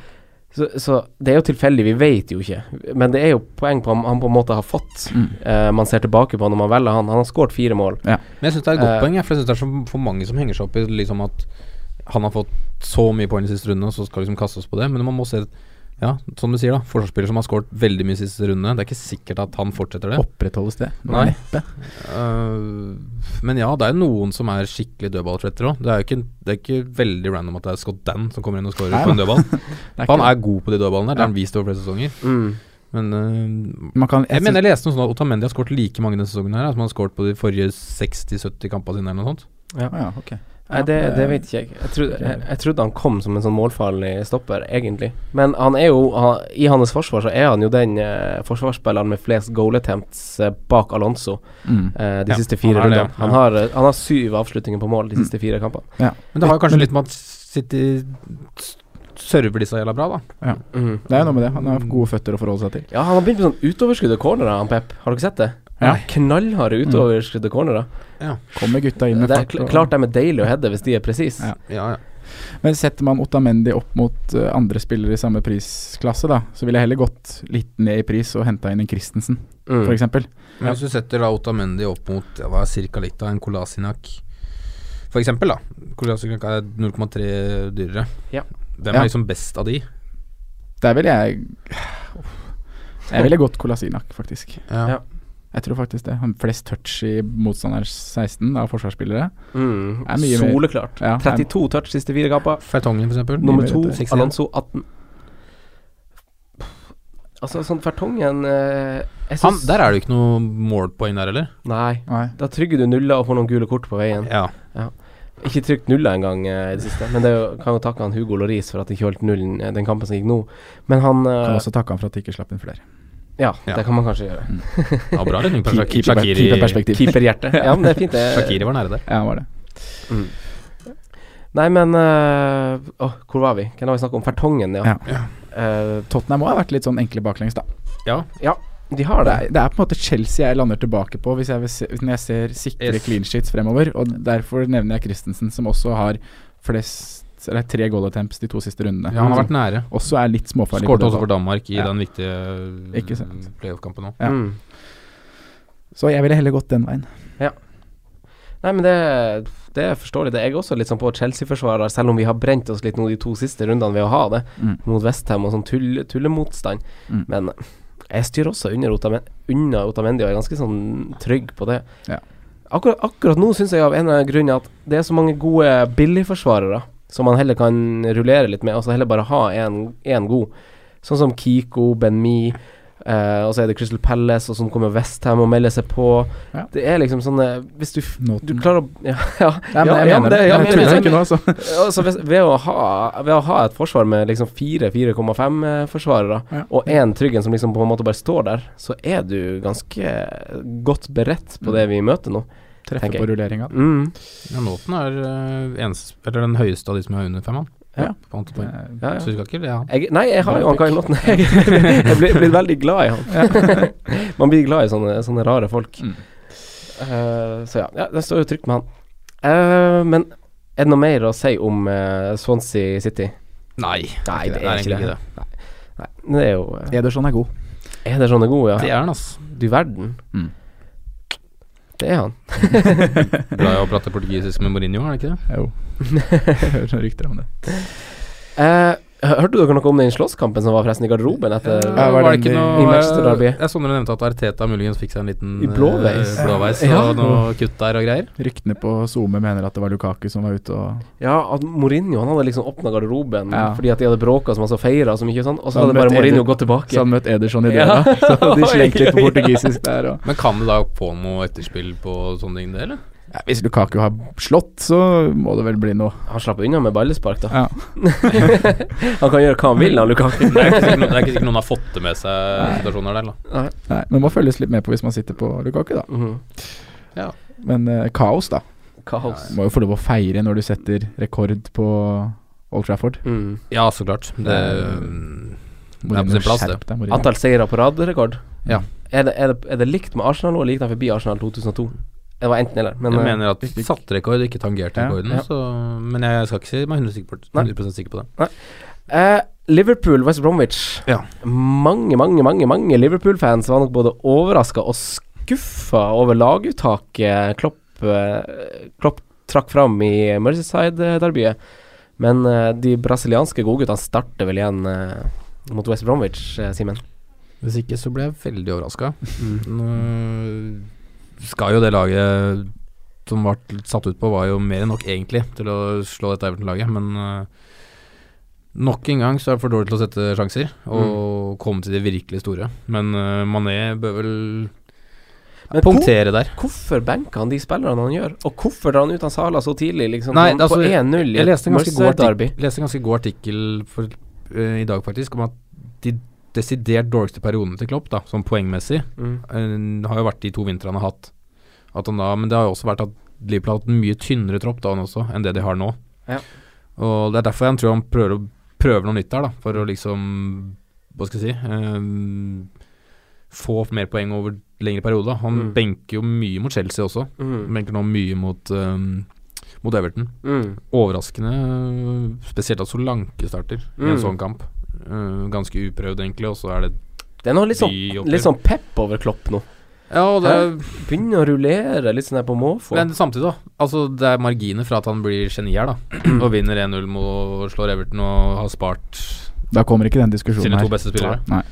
så, så det er jo tilfeldig, vi vet jo ikke. Men det er jo poeng på om han på en måte har fått. Mm. Eh, man ser tilbake på han når man velger han. Han har skåret fire mål. Men jeg syns det er et godt Eh. poeng, jeg, for jeg syns det er så for mange som henger seg opp i liksom at han har fått så mye poeng i siste runde, og så skal liksom kaste oss på det. Men man må se Ja, som du sier, da. Forsvarsspiller som har skåret veldig mye i siste runde. Det er ikke sikkert at han fortsetter det. Opprettholdes det? Nei. Neppe. Eh, men ja, det er noen som er skikkelig dødballtrettere òg. Det, er jo ikke- det er ikke veldig random at det er Scott Dan som kommer inn og scorer Nei, på en [laughs] dødball. Det er For han ikke- er god på de dødballene der. Det har han vist over flere sesonger. Mm. Men eh, man kan, jeg jeg mener jeg leste noe sånt at Otamendi har skåret like mange denne sesongen her, som han har skåret på de forrige 60-70 kampene sine, eller noe sånt. synes- ja, ok. Nei, det, det vet ikke jeg. Jeg trodde, jeg, jeg trodde han kom som en sånn målfarlig stopper, egentlig. Men han er jo han, i hans forsvar så er han jo den eh, forsvarsspilleren med flest goal attempts eh, bak Alonso Mm. eh, de Ja, siste fire han er det, rundene. ja. Han, har, eh, han har syv avslutninger på mål de siste fire kampene. Men det har jo kanskje litt med at City s- server disse jævla bra, da. Det er jo noe med det. Han har gode føtter å forholde seg til. Ja, han har begynt med sånn utoverskudd og cornerer, han Pep. Har dere sett det? Ja. Knallharde utoverskudd og cornerer. Kommer gutta inn med Det er fart kl og- klart de er deilige å heade hvis de er presise. Ja. Ja, ja. Men setter man Otamendi opp mot eh, andre spillere i samme prisklasse, da, så ville jeg heller gått litt ned i pris og henta inn en Christensen, Mm. for eksempel Men Ja. hvis du setter da Otamendi opp mot ja, hva er ca. likt av en Kolasinac, for eksempel, da. Kolasinac er 0,3 dyrere. Ja. Hvem Ja. er liksom best av de? Der ville jeg Jeg ville gått Kolasinak, faktisk. Ja. Jeg tror faktisk det. Han flest touch i motstanders 16 av forsvarsspillere. Mm. Er mye mer- Soleklart. Ja, er- 32 touch siste fire kamper. Fertongen, for eksempel. Nummer Mye to, bedre. 61. Alonso 18. Altså, sånn Fertongen eh, jeg Han, synes- der er det jo ikke noe målpoeng der, eller? Nei. Nei. Da trygger du nuller og får noen gule kort på veien. Ja. Ikke trygt nuller engang eh, i det siste, men det er jo, kan jo takke han Hugo Loris for at de ikke holdt nullen eh, den kampen som gikk nå. Men han eh, Kan også takke han for at de ikke slapp inn flere. ja, Ja. det kan man kanskje gjøre. ja bra redning. fra Shak- Keeper- Shakiri keeperperspektiv. Keeperhjerte. Ja, men det er fint, det. Shakiri var nære der. Ja, han var det. Nei, men eh, åh, Hvor var vi? Hvem har vi snakket om? Fertongen, ja. Ja. Eh, Tottenham òg har vært litt sånn enkle baklengs, da. Ja. de har Det det. er, det er på en måte Chelsea jeg lander tilbake på hvis jeg, vil se, når jeg ser sikre Yes. clean sheets fremover. Og derfor nevner jeg Christensen, som også har flest eller tre goal attempts de to siste rundene. Ja, han har vært nære. Også er litt småfarlig. på Skårte det også for Danmark i Ja. den viktige Ikke sant. eh, playoff-kampen òg. Ja. Mm. Så jeg ville heller gått den veien. Nei, men det, det er forståelig. Det er jeg også litt sånn på Chelsea-forsvarer, selv om vi har brent oss litt nå de to siste rundene ved å ha det, Mm. mot Westham og sånn tull, tullemotstand. Mm. Men jeg styrer også under Otamen- unna Otamendi og er ganske sånn trygg på det. Ja. Akkurat, akkurat nå syns jeg av en eller annen grunn at det er så mange gode billigforsvarere som man heller kan rullere litt med, altså heller bare ha én god. Sånn som Kiko, Ben-Mi, eh, og så er det Crystal Palace, og så kommer Westham og melder seg på. Ja. Det er liksom sånne Hvis du f du Nåten. klarer å [laughs] Ja, ja, Nei, men ja, jeg ja, mener det- det. ja, men jeg tuller jeg- ikke nå, altså. altså, hvis- ved, å ha, ved å ha et forsvar med liksom 4-4,5 eh, forsvarere, Ja. og én Tryggen som liksom på en måte bare står der, så er du ganske godt beredt på Mm. det vi møter nå. Treffer tenker på rulleringa. Mm. Ja, Nåten er eh, ens, eller den høyeste av de som har under fem, han. Ja. På antall poeng. Det Ja, ja. Så vi skal ikke le av han. Jeg, nei, jeg har jo han Kai Lotten. [laughs] Jeg, jeg blir, blir veldig glad i han. [laughs] Man blir glad i sånne, sånne rare folk. Mm. Eh, så ja, ja, det står jo trygt med han. Eh, men er det noe mer å si om eh, Swansea City? Nei, Nei, det er egentlig ikke det. Nei, det er jo eh, er- Ederson er god. [laughs] Er det sånne gode, ja? Det er han, ass. Du verden. Mm. Det er han. Glad i å prate portugisisk med Mourinho, er det ikke det? Jo. Hører noen rykter om det. Eh, hørte dere noe om den slåsskampen som var forresten i garderoben etter Ja, var det den ikke de- noe i Manchester Derby? Jeg så dere nevnte at Arteta muligens fikk seg en liten I blåveis. eh, blåveis Ja. og noe kutt der og greier. Ryktene på SoMe mener at det var Lukaku som var ute og Ja, at Mourinho han hadde liksom åpna garderoben Ja. fordi at de hadde bråka så masse og feira så mye og sånn, og så Han hadde bare møtte Mourinho Eder- gått tilbake. Så han møtte Ederson i Ja. [laughs] døra. Så de slengte litt på Oi, oi, oi. portugisisk der. Og. Men kan det da få noe etterspill på sånne ting, det, eller? Ja, hvis Lukaku har slått, så må det vel bli noe. Han slapp unna med ballespark, da. Ja. [laughs] Han kan gjøre hva han vil, [laughs] han Lukaku. Det er ikke sikkert noen, det er ikke sikkert noen har fått det med seg situasjoner der, da. Nei, men må følges litt med på hvis man sitter på Lukaku, da. Mhm. Men eh, kaos, da. Kaos. Må jo få lov å feire når du setter rekord på Old Trafford. Mm. Ja, så klart. Det, mm, det er på sin plass, det. skjerp deg, Mourinho. Antall seire på rad rekord? Ja. Er det, er, det, er det likt med Arsenal nå, eller gikk de forbi Arsenal 2002? Det var enten eller, men Jeg eh, mener at vi satte rekord, ikke tangerte Ja, rekorden. ja. Så, men jeg skal ikke si meg 100 sikker på, Nei. 100 sikker på det. Eh, Liverpool, West Bromwich. Ja. Mange, mange, mange mange Liverpool-fans var nok både overraska og skuffa over laguttaket Klopp, eh, Klopp trakk fram i Merseyside-derbyet. Men eh, de brasilianske godguttene starter vel igjen eh, mot West Bromwich, eh, Simen. Hvis ikke så ble jeg veldig overraska. Nå Mm. skal jo det laget som ble satt ut på, var jo mer enn nok egentlig til å slå dette Everton-laget, men eh, nok en gang så er det for dårlig til å sette sjanser og komme til de virkelig store. Men eh, Mané bør vel Men punktere der. Hvorfor benker han de spillerne han gjør? Og hvorfor drar han ut han Sala så tidlig, liksom? Nei, sånn altså, på 1-0 i Jeg leste en ganske god Merseyside-derby. artikkel, leste en ganske god artikkel for, eh, i dag, faktisk, om at de desidert dårligste periodene til Klopp, da, sånn poengmessig, Mm. eh, har jo vært de to vintrene han har hatt. At han da, men det har jo også vært at Liverpool har hatt en mye tynnere tropp da han også, enn det de har nå. Ja. Og Det er derfor jeg tror han prøver, å, prøver noe nytt der, da, for å liksom Hva skal jeg si eh, Få mer poeng over lengre perioder. Han Mm. benker jo mye mot Chelsea også. Mm. Benker nå mye mot, eh, mot Everton. Mm. Overraskende, øh, spesielt at Solanke starter i Mm. en sånn kamp. Øh, ganske uprøvd, egentlig, og så er det Det er noe litt sånn, de oppgjør. litt sånn pep over Klopp nå. Ja, og det er, Begynner å rullere litt sånn her på måfå. men samtidig, da. Altså, det er marginer fra at han blir geni [clears throat] her, da. og vinner 1-0 og slår Everton og har spart Da kommer ikke den diskusjonen sine to her. beste spillere. Nei.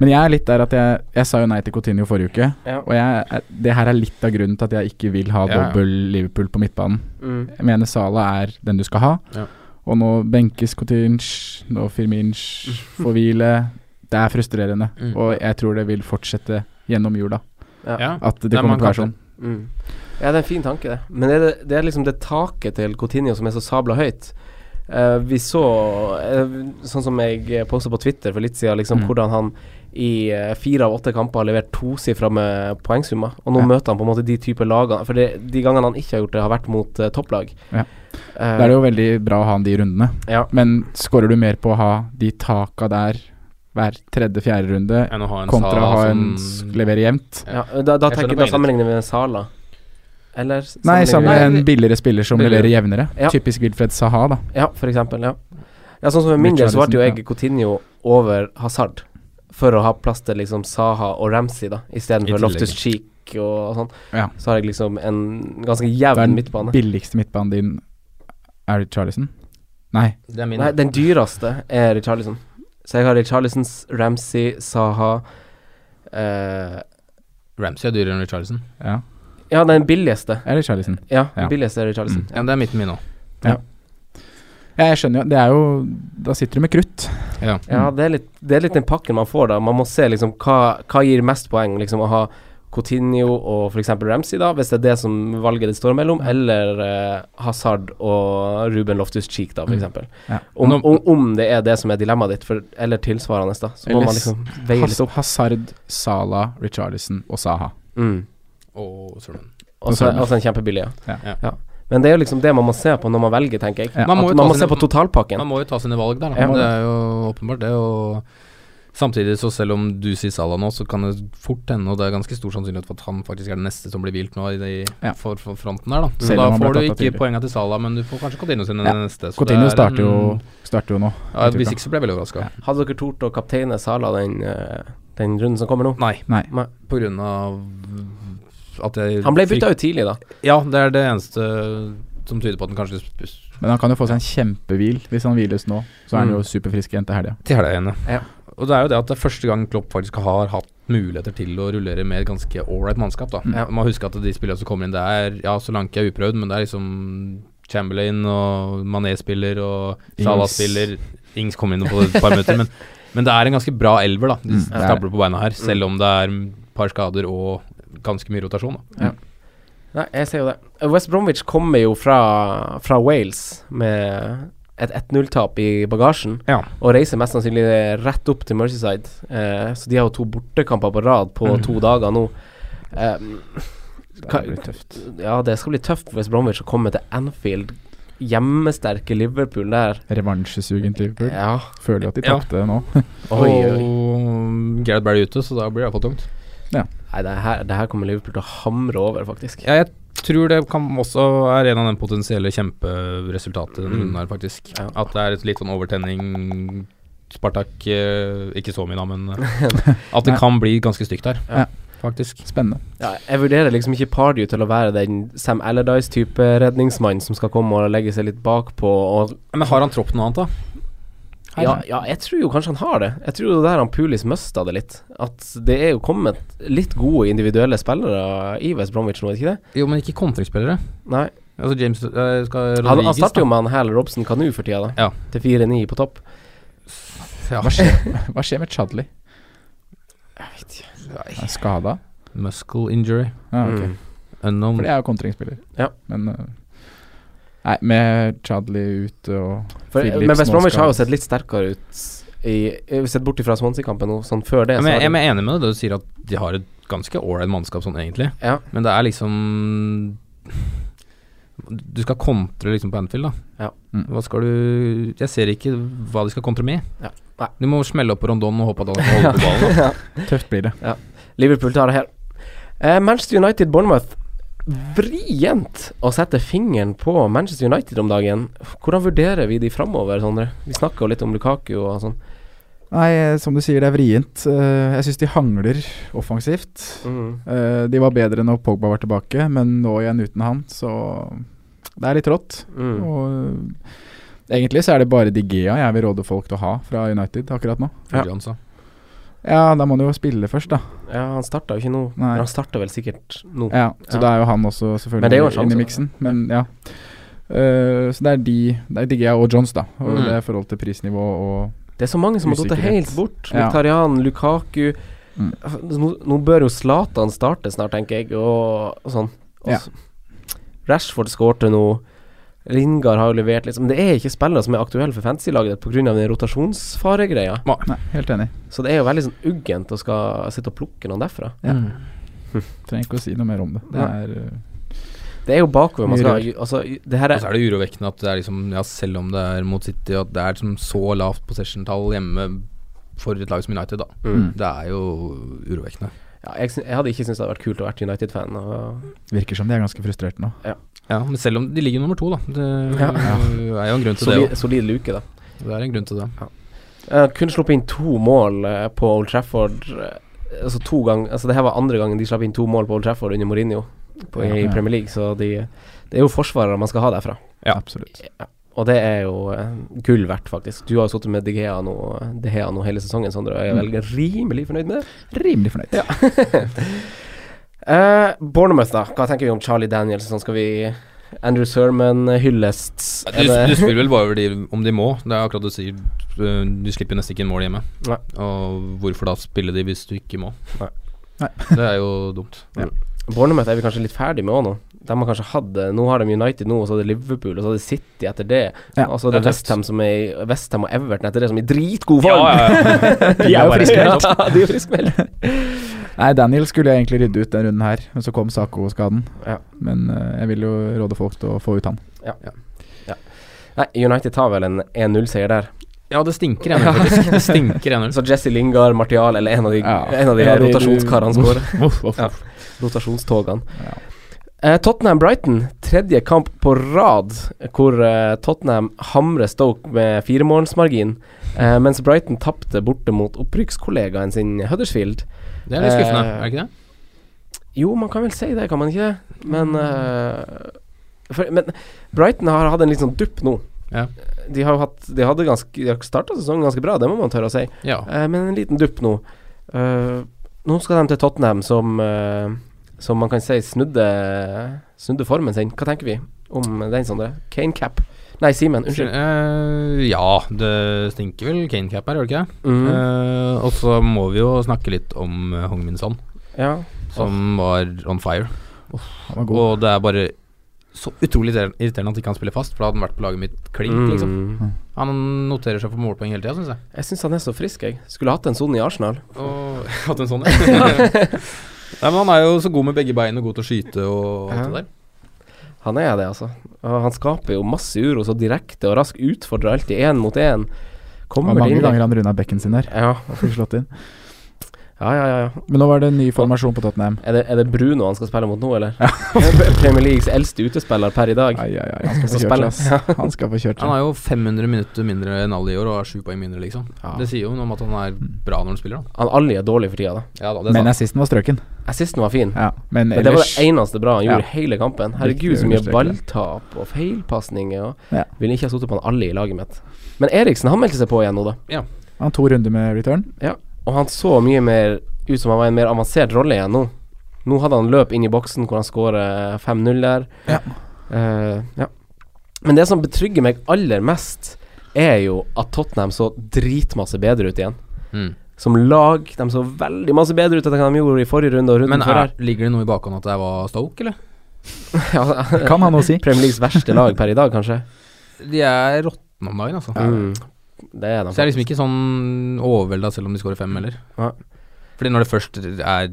Men jeg er litt der at jeg, jeg sa jo nei til Coutinho forrige uke. Ja. Og jeg, er- det her er litt av grunnen til at jeg ikke vil ha Ja, ja. dobbel Liverpool på midtbanen. Mm. Jeg mener Sala er den du skal ha. Ja. Og nå benkes Coutinch, nå Firminch får hvile. Det er frustrerende, Mm. og jeg tror det vil fortsette gjennom jula. Ja. At det Nei, man kommer til å være kan sånn. Mm. ja, det er en fin tanke, det. Men er det, det er liksom det taket til Coutinho som er så sabla høyt. Eh, vi så, eh, sånn som jeg posta på Twitter for litt siden, liksom, Mm. hvordan han i eh, fire av åtte kamper har levert tosifra med poengsummer. Og nå Ja. møter han på en måte de type lagene For det, de gangene han ikke har gjort det, har vært mot eh, topplag. Ja. Eh, Da er det jo veldig bra å ha han de rundene. Ja. Men skårer du mer på å ha de taka der hver tredje-fjerde runde, enn å ha en kontra å Salah ha som- en s- levere jevnt? ja, da da, Jeg tenker, skjønner da poenget ditt. sammenligner vi med Sala. Eller s- Nei, sammenligner sammen vi- med Nei, en billigere spiller som billigere. leverer jevnere. Ja. Typisk Wilfred Saha, da. Ja, for eksempel, ja. ja sånn som for min del så ble jo jeg Coutinho over Hazard for å ha plass til liksom Saha og Ramsey, da, I istedenfor tillegg. Loftus Cheek og sånn. Ja. Så har jeg liksom en ganske Da er jevn den midtbane. billigste midtbanen din Er det Charlison? Nei. Det er min. Nei, den dyreste er Richarlison. Så jeg har Richarlisons, Ramsey, Saha eh, Ramsey er dyrere enn Richarlison. Ja. Ja, den billigste. Er det Charlison? Ja, den Ja. billigste er Richarlison. Ja, det er midten min òg. Ja, jeg skjønner jo. Det er jo Da sitter du med krutt. Ja. Ja, det er, litt, det er litt den pakken man får, da. Man må se liksom hva, hva gir mest poeng. Liksom å ha Coutinho og f.eks. Ramsey, da, hvis det er det som valget det står mellom, eller eh, Hazard og Ruben Loftus-Cheek, da, f.eks. Ja. Om, Nå- om, om det er det som er dilemmaet ditt, for, eller tilsvarende, da, så må Eller man s- liksom veie litt Has opp. Hazard, Salah, Richarlison og Saha. Mm. Og Solomon. Og så og så en kjempebillig, ja. Ja. Ja. Men det er jo liksom det man må se på når man velger, tenker jeg. Ja. Man Man må jo ta må, at man må sine- se på totalpakken. Man må jo ta sine valg der, da. Ja. det er jo åpenbart det. Og samtidig, så selv om du sier Salah nå, så kan det fort hende, og det er ganske stor sannsynlighet for at han faktisk er den neste som blir hvilt nå i de, Ja. for, for fronten der, da. Så Selv om da han ble får du tatt av ikke tidlig. poenga til Salah, men du får kanskje Coutinho sine Ja. neste. så Coutinho det er starter jo, en- starter jo nå. ja, i Hvis uka. ikke så ble jeg veldig overraska. Ja. Hadde dere tort å kapteine Sala den, eh, den runden som kommer nå? Nei, Nei. på grunn av at jeg Han ble fikk- bytta ut tidlig, da. Ja, det er det eneste som tyder på at den kanskje sp- Men han kan jo få seg en kjempehvil. Hvis han hviles nå, så er han Mm. jo superfrisk igjen til helga. Til helga igjen, Ja. Og det er jo det at det er første gang Klopp faktisk har hatt muligheter til å rullere med et ganske ålreit mannskap, da. Mm. Ja. Man husker at de spillerne som kommer inn, det er ja, Solanke er uprøvd, men det er liksom Chamberlain og Mané spiller og Salah Ings. spiller. Ings kom inn på et par minutter, [laughs] men, men det er en ganske bra elver, da. De Mm, det er stabler på beina her, selv om det er et par skader og ganske mye rotasjon, da. Nei, jeg ser jo det. West Bromwich kommer jo fra, fra Wales med et 1-0-tap i bagasjen, Ja. og reiser mest sannsynlig rett opp til Merseyside. Eh, så de har jo to bortekamper på rad på Mm. to dager nå. Eh, Ka- Det blir tøft. ja, det skal bli tøft for West Bromwich å komme til Anfield, hjemmesterke Liverpool der. Revansjesugen til Liverpool. Ja. Føler jo at de Ja. tapte nå. Oi, oi. Og Gareth Barry ute, så da blir det iallfall tungt. Nei, det her, det her kommer Liverpool til å hamre over, faktisk. Ja, jeg tror det kan også er en av den potensielle kjemperesultatet denne runden her, faktisk. Ja. At det er et litt sånn overtenning Spartak eh, Ikke så mye, da, men eh, at det Nei. kan bli ganske stygt her, Ja. faktisk. Spennende. Ja, jeg vurderer liksom ikke Pardew til å være den Sam Allardyce-type redningsmann som skal komme og legge seg litt bakpå og Men har han tropp noe annet, da? Her. ja, ja, jeg tror jo kanskje han har det. Jeg tror jo der han Pulis mista det litt. At det er jo kommet litt gode individuelle spillere i West Bromwich nå, er det ikke det? Jo, men ikke kontringsspillere. Nei. Altså James eh, skal Han, han Rodriguez, starter da. jo med han Hal Robson Kanu for tida, da. Ja. Til 4-9 på topp. Ja. Hva skjer, [laughs] hva skjer med Chadley? Nei. Er skada? Muscle injury. Ja, ok. Mm. For Unknown. det er jo kontringsspiller. Ja. Men øh, Nei, med Chadley ute og For, Phillips men West nå Bromwich skal- har jo sett litt sterkere ut i, eh, Sett bort ifra Swansea-kampen nå, sånn før det. Ja, så men jeg, har de- jeg er enig med deg da du sier at de har et ganske ålreit mannskap sånn egentlig, Ja. men det er liksom Du skal kontre liksom på Anfield, da. Ja. Mm. Hva skal du Jeg ser ikke hva de skal kontre med. Ja. Nei. Du må smelle opp på Rondon og håpe at han kan holde på ballen. da. Tøft blir det. Liverpool tar det her. Eh, Manchester United Bournemouth. Vrient å sette fingeren på Manchester United om dagen. Hvordan vurderer vi de framover, Sondre? Vi snakker jo litt om Lukaku og sånn. Nei, eh, som du sier, det er vrient. Eh, Jeg syns de hangler offensivt. Mm. Eh, De var bedre når Pogba var tilbake, men nå igjen uten han, så Det er litt rått. Mm. Og øh, egentlig så er det bare De Gea jeg vil råde folk til å ha fra United akkurat nå. Fulgte han, så. Ja, da må han jo spille først, da. Ja, han starta jo ikke nå. Nei. Men han starta vel sikkert nå. Ja, så Ja. da er jo han også Men det er jo en selvfølgelig sjanse, inne i miksen. Men ja. Øh, så det er de Det er De Gea og Jones, da. Og Mm. det er i forhold til prisnivå og Det er så mange som har datt Usikkerhet. helt bort. Ja. Mkhitaryan, Lukaku Altså, Mm. nå, nå bør jo Zlatan starte snart, tenker jeg, og, og sånn. Og Ja. så- Rashford skårte nå. Lingard har jo levert litt Men det er ikke spillere som er aktuelle for fantasy-laget ditt pga. den rotasjonsfaregreia. Nei, helt enig. Så det er jo veldig sånn uggent å skal sitte og plukke noen derfra. Ja. Mm. Trenger ikke å si noe mer om det. Det Ja. er eh, Det er jo bakover man skal Mye Altså, det her Og er så er det urovekkende at det er liksom Ja, selv om det er mot City, at det er liksom så lavt possession-tall hjemme for et lag som United, da. mm. Det er jo urovekkende. ja, jeg, syn- jeg hadde ikke syntes det hadde vært kult å være United-fan. og- Virker som de er ganske frustrerte nå. Ja, men selv om de ligger nummer to, da. Det Ja. er jo en grunn til det Solid, òg. solid luke, da. Det er en grunn til det. Uh, kun sluppet inn to mål eh, på Old Trafford. eh, altså to gang, altså Det her var andre gangen de slapp inn to mål på Old Trafford under Mourinho på, i Ja. Premier League, så de, det er jo forsvarere man skal ha derfra. Ja. Absolutt. Og det er jo eh, gull verdt, faktisk. Du har jo sittet med De Gea nå, De Gea nå hele sesongen, Sondre, og jeg Mm. er vel rimelig fornøyd med det. Rimelig fornøyd. Ja. Eh, Bournemouth, da. Hva tenker vi om Charlie Daniels? Sånn skal vi Andrew Sermon eh, hyllest. Du, Er det- du spiller vel bare over de, om de må. Det er akkurat det du sier. øh, Du slipper nesten ikke inn mål hjemme. Nei. Og hvorfor da spille de hvis du ikke må? Nei. Nei. Det er jo dumt. Bournemouth er vi kanskje litt ferdig med òg nå. De har kanskje hatt eh, Nå har de United nå, og så er det Liverpool, og så er det City etter det. Ja, og så er det det er tøft. Westham som er i- Westham og Everton etter det, som er i dritgod form. [laughs] De er jo friskmeldt. Ja, de er friskmeldt. Nei, Daniel skulle jeg egentlig rydde ut den runden her, men så kom Sako-skaden. Ja. Men eh, jeg vil jo råde folk til å få ut han. [laughs] Nei, United tar vel en 1-0-seier der. Ja, det stinker 1-0, faktisk. Det stinker 1-0. Så Jesse Lingard, Martial eller en av de, Ja. en av de Ja, de- rotasjonskarene du- skårer. [laughs] Voff, voff, Ja. voff. Rotasjonstogene. Ja. Eh, Tottenham-Brighton, tredje kamp på rad hvor eh, Tottenham hamrer Stoke med firemålsmargin, eh, mens Brighton tapte borte mot opprykkskollegaen sin Huddersfield. Det er litt skuffende, Eh, er det ikke det? Jo, man kan vel si det, kan man ikke det? Men, eh, for, men Brighton har hatt en litt sånn dupp nå. Ja. De har jo hatt De hadde ganske De har starta sesongen ganske bra, det må man tørre å si, Ja. Eh, men en liten dupp nå. Eh, nå skal de til Tottenham, som eh, Som man kan si snudde Snudde formen sin. Hva tenker vi om den, Sondre? Kane cap Nei, Simen, unnskyld. Eh, ja, det stinker vel Kane Cap her, gjør det ikke? det? Mm, Eh, og så må vi jo snakke litt om eh, Hong Min Son, ja. som var on fire. Han var god. Og det er bare så utrolig irriterende irriterende at ikke han spiller fast, for da hadde han vært på laget mitt klink, liksom. Mm. Han noterer seg for målpoeng hele tida, syns jeg. Jeg syns han er så frisk, jeg. Skulle hatt en sånn i Arsenal. Og [laughs] hatt en sånn [laughs] Nei, men han er jo så god med begge bein og god til å skyte og alt det der. Han er det, altså. Og han skaper jo masse uro så direkte og raskt utfordrer alltid én mot én. Det Kommer var mange det inn ganger han runda bekken sin der. Ja, Han fikk slått inn. ja, ja. ja. Men nå var det en ny formasjon på Tottenham. Er, det, er det Bruno han skal spille mot nå, eller? [laughs] Premier Leagues eldste utespiller per i dag. Ai, ai, ai, han Så skal få kjørt seg, spennende. ass. Han skal få [laughs] kjørt Han seg. har jo 500 minutter mindre enn alle i år og har sju poeng mindre, liksom. Ja. Det sier jo noe om at han er bra når han spiller, da. Han Ali er dårlig for tida, da. Ja da, Men assisten var strøken. Assisten var fin. Ja, men Men det var ellers det eneste bra han gjorde Ja. i hele kampen. Herregud, Viktig å så mye understreke det. balltap og feilpasninger. Og Ja. Ville ikke ha sittet på han Ali i laget mitt. Men Eriksen, han meldte seg på igjen nå, da. Han to runder med return. Og han så mye mer ut som han var i en mer avansert rolle igjen nå. Nå hadde han løp inn i boksen hvor han skårer 5-0 der. Ja. Eh, ja. Men det som betrygger meg aller mest, er jo at Tottenham så dritmasse bedre ut igjen. Mm. Som lag. De så veldig masse bedre ut enn hva de gjorde i forrige runde og runden Men før er, her. ligger det noe i bakhånd at det var Stoke, eller? eh, [laughs] Ja, Kan han noe si? Premier Leagues verste lag per i dag, kanskje. De er råtne om dagen, altså. Mm. Det er de. Så jeg er liksom ikke sånn overvelda selv om de scorer fem, heller. Nei. Fordi når det først er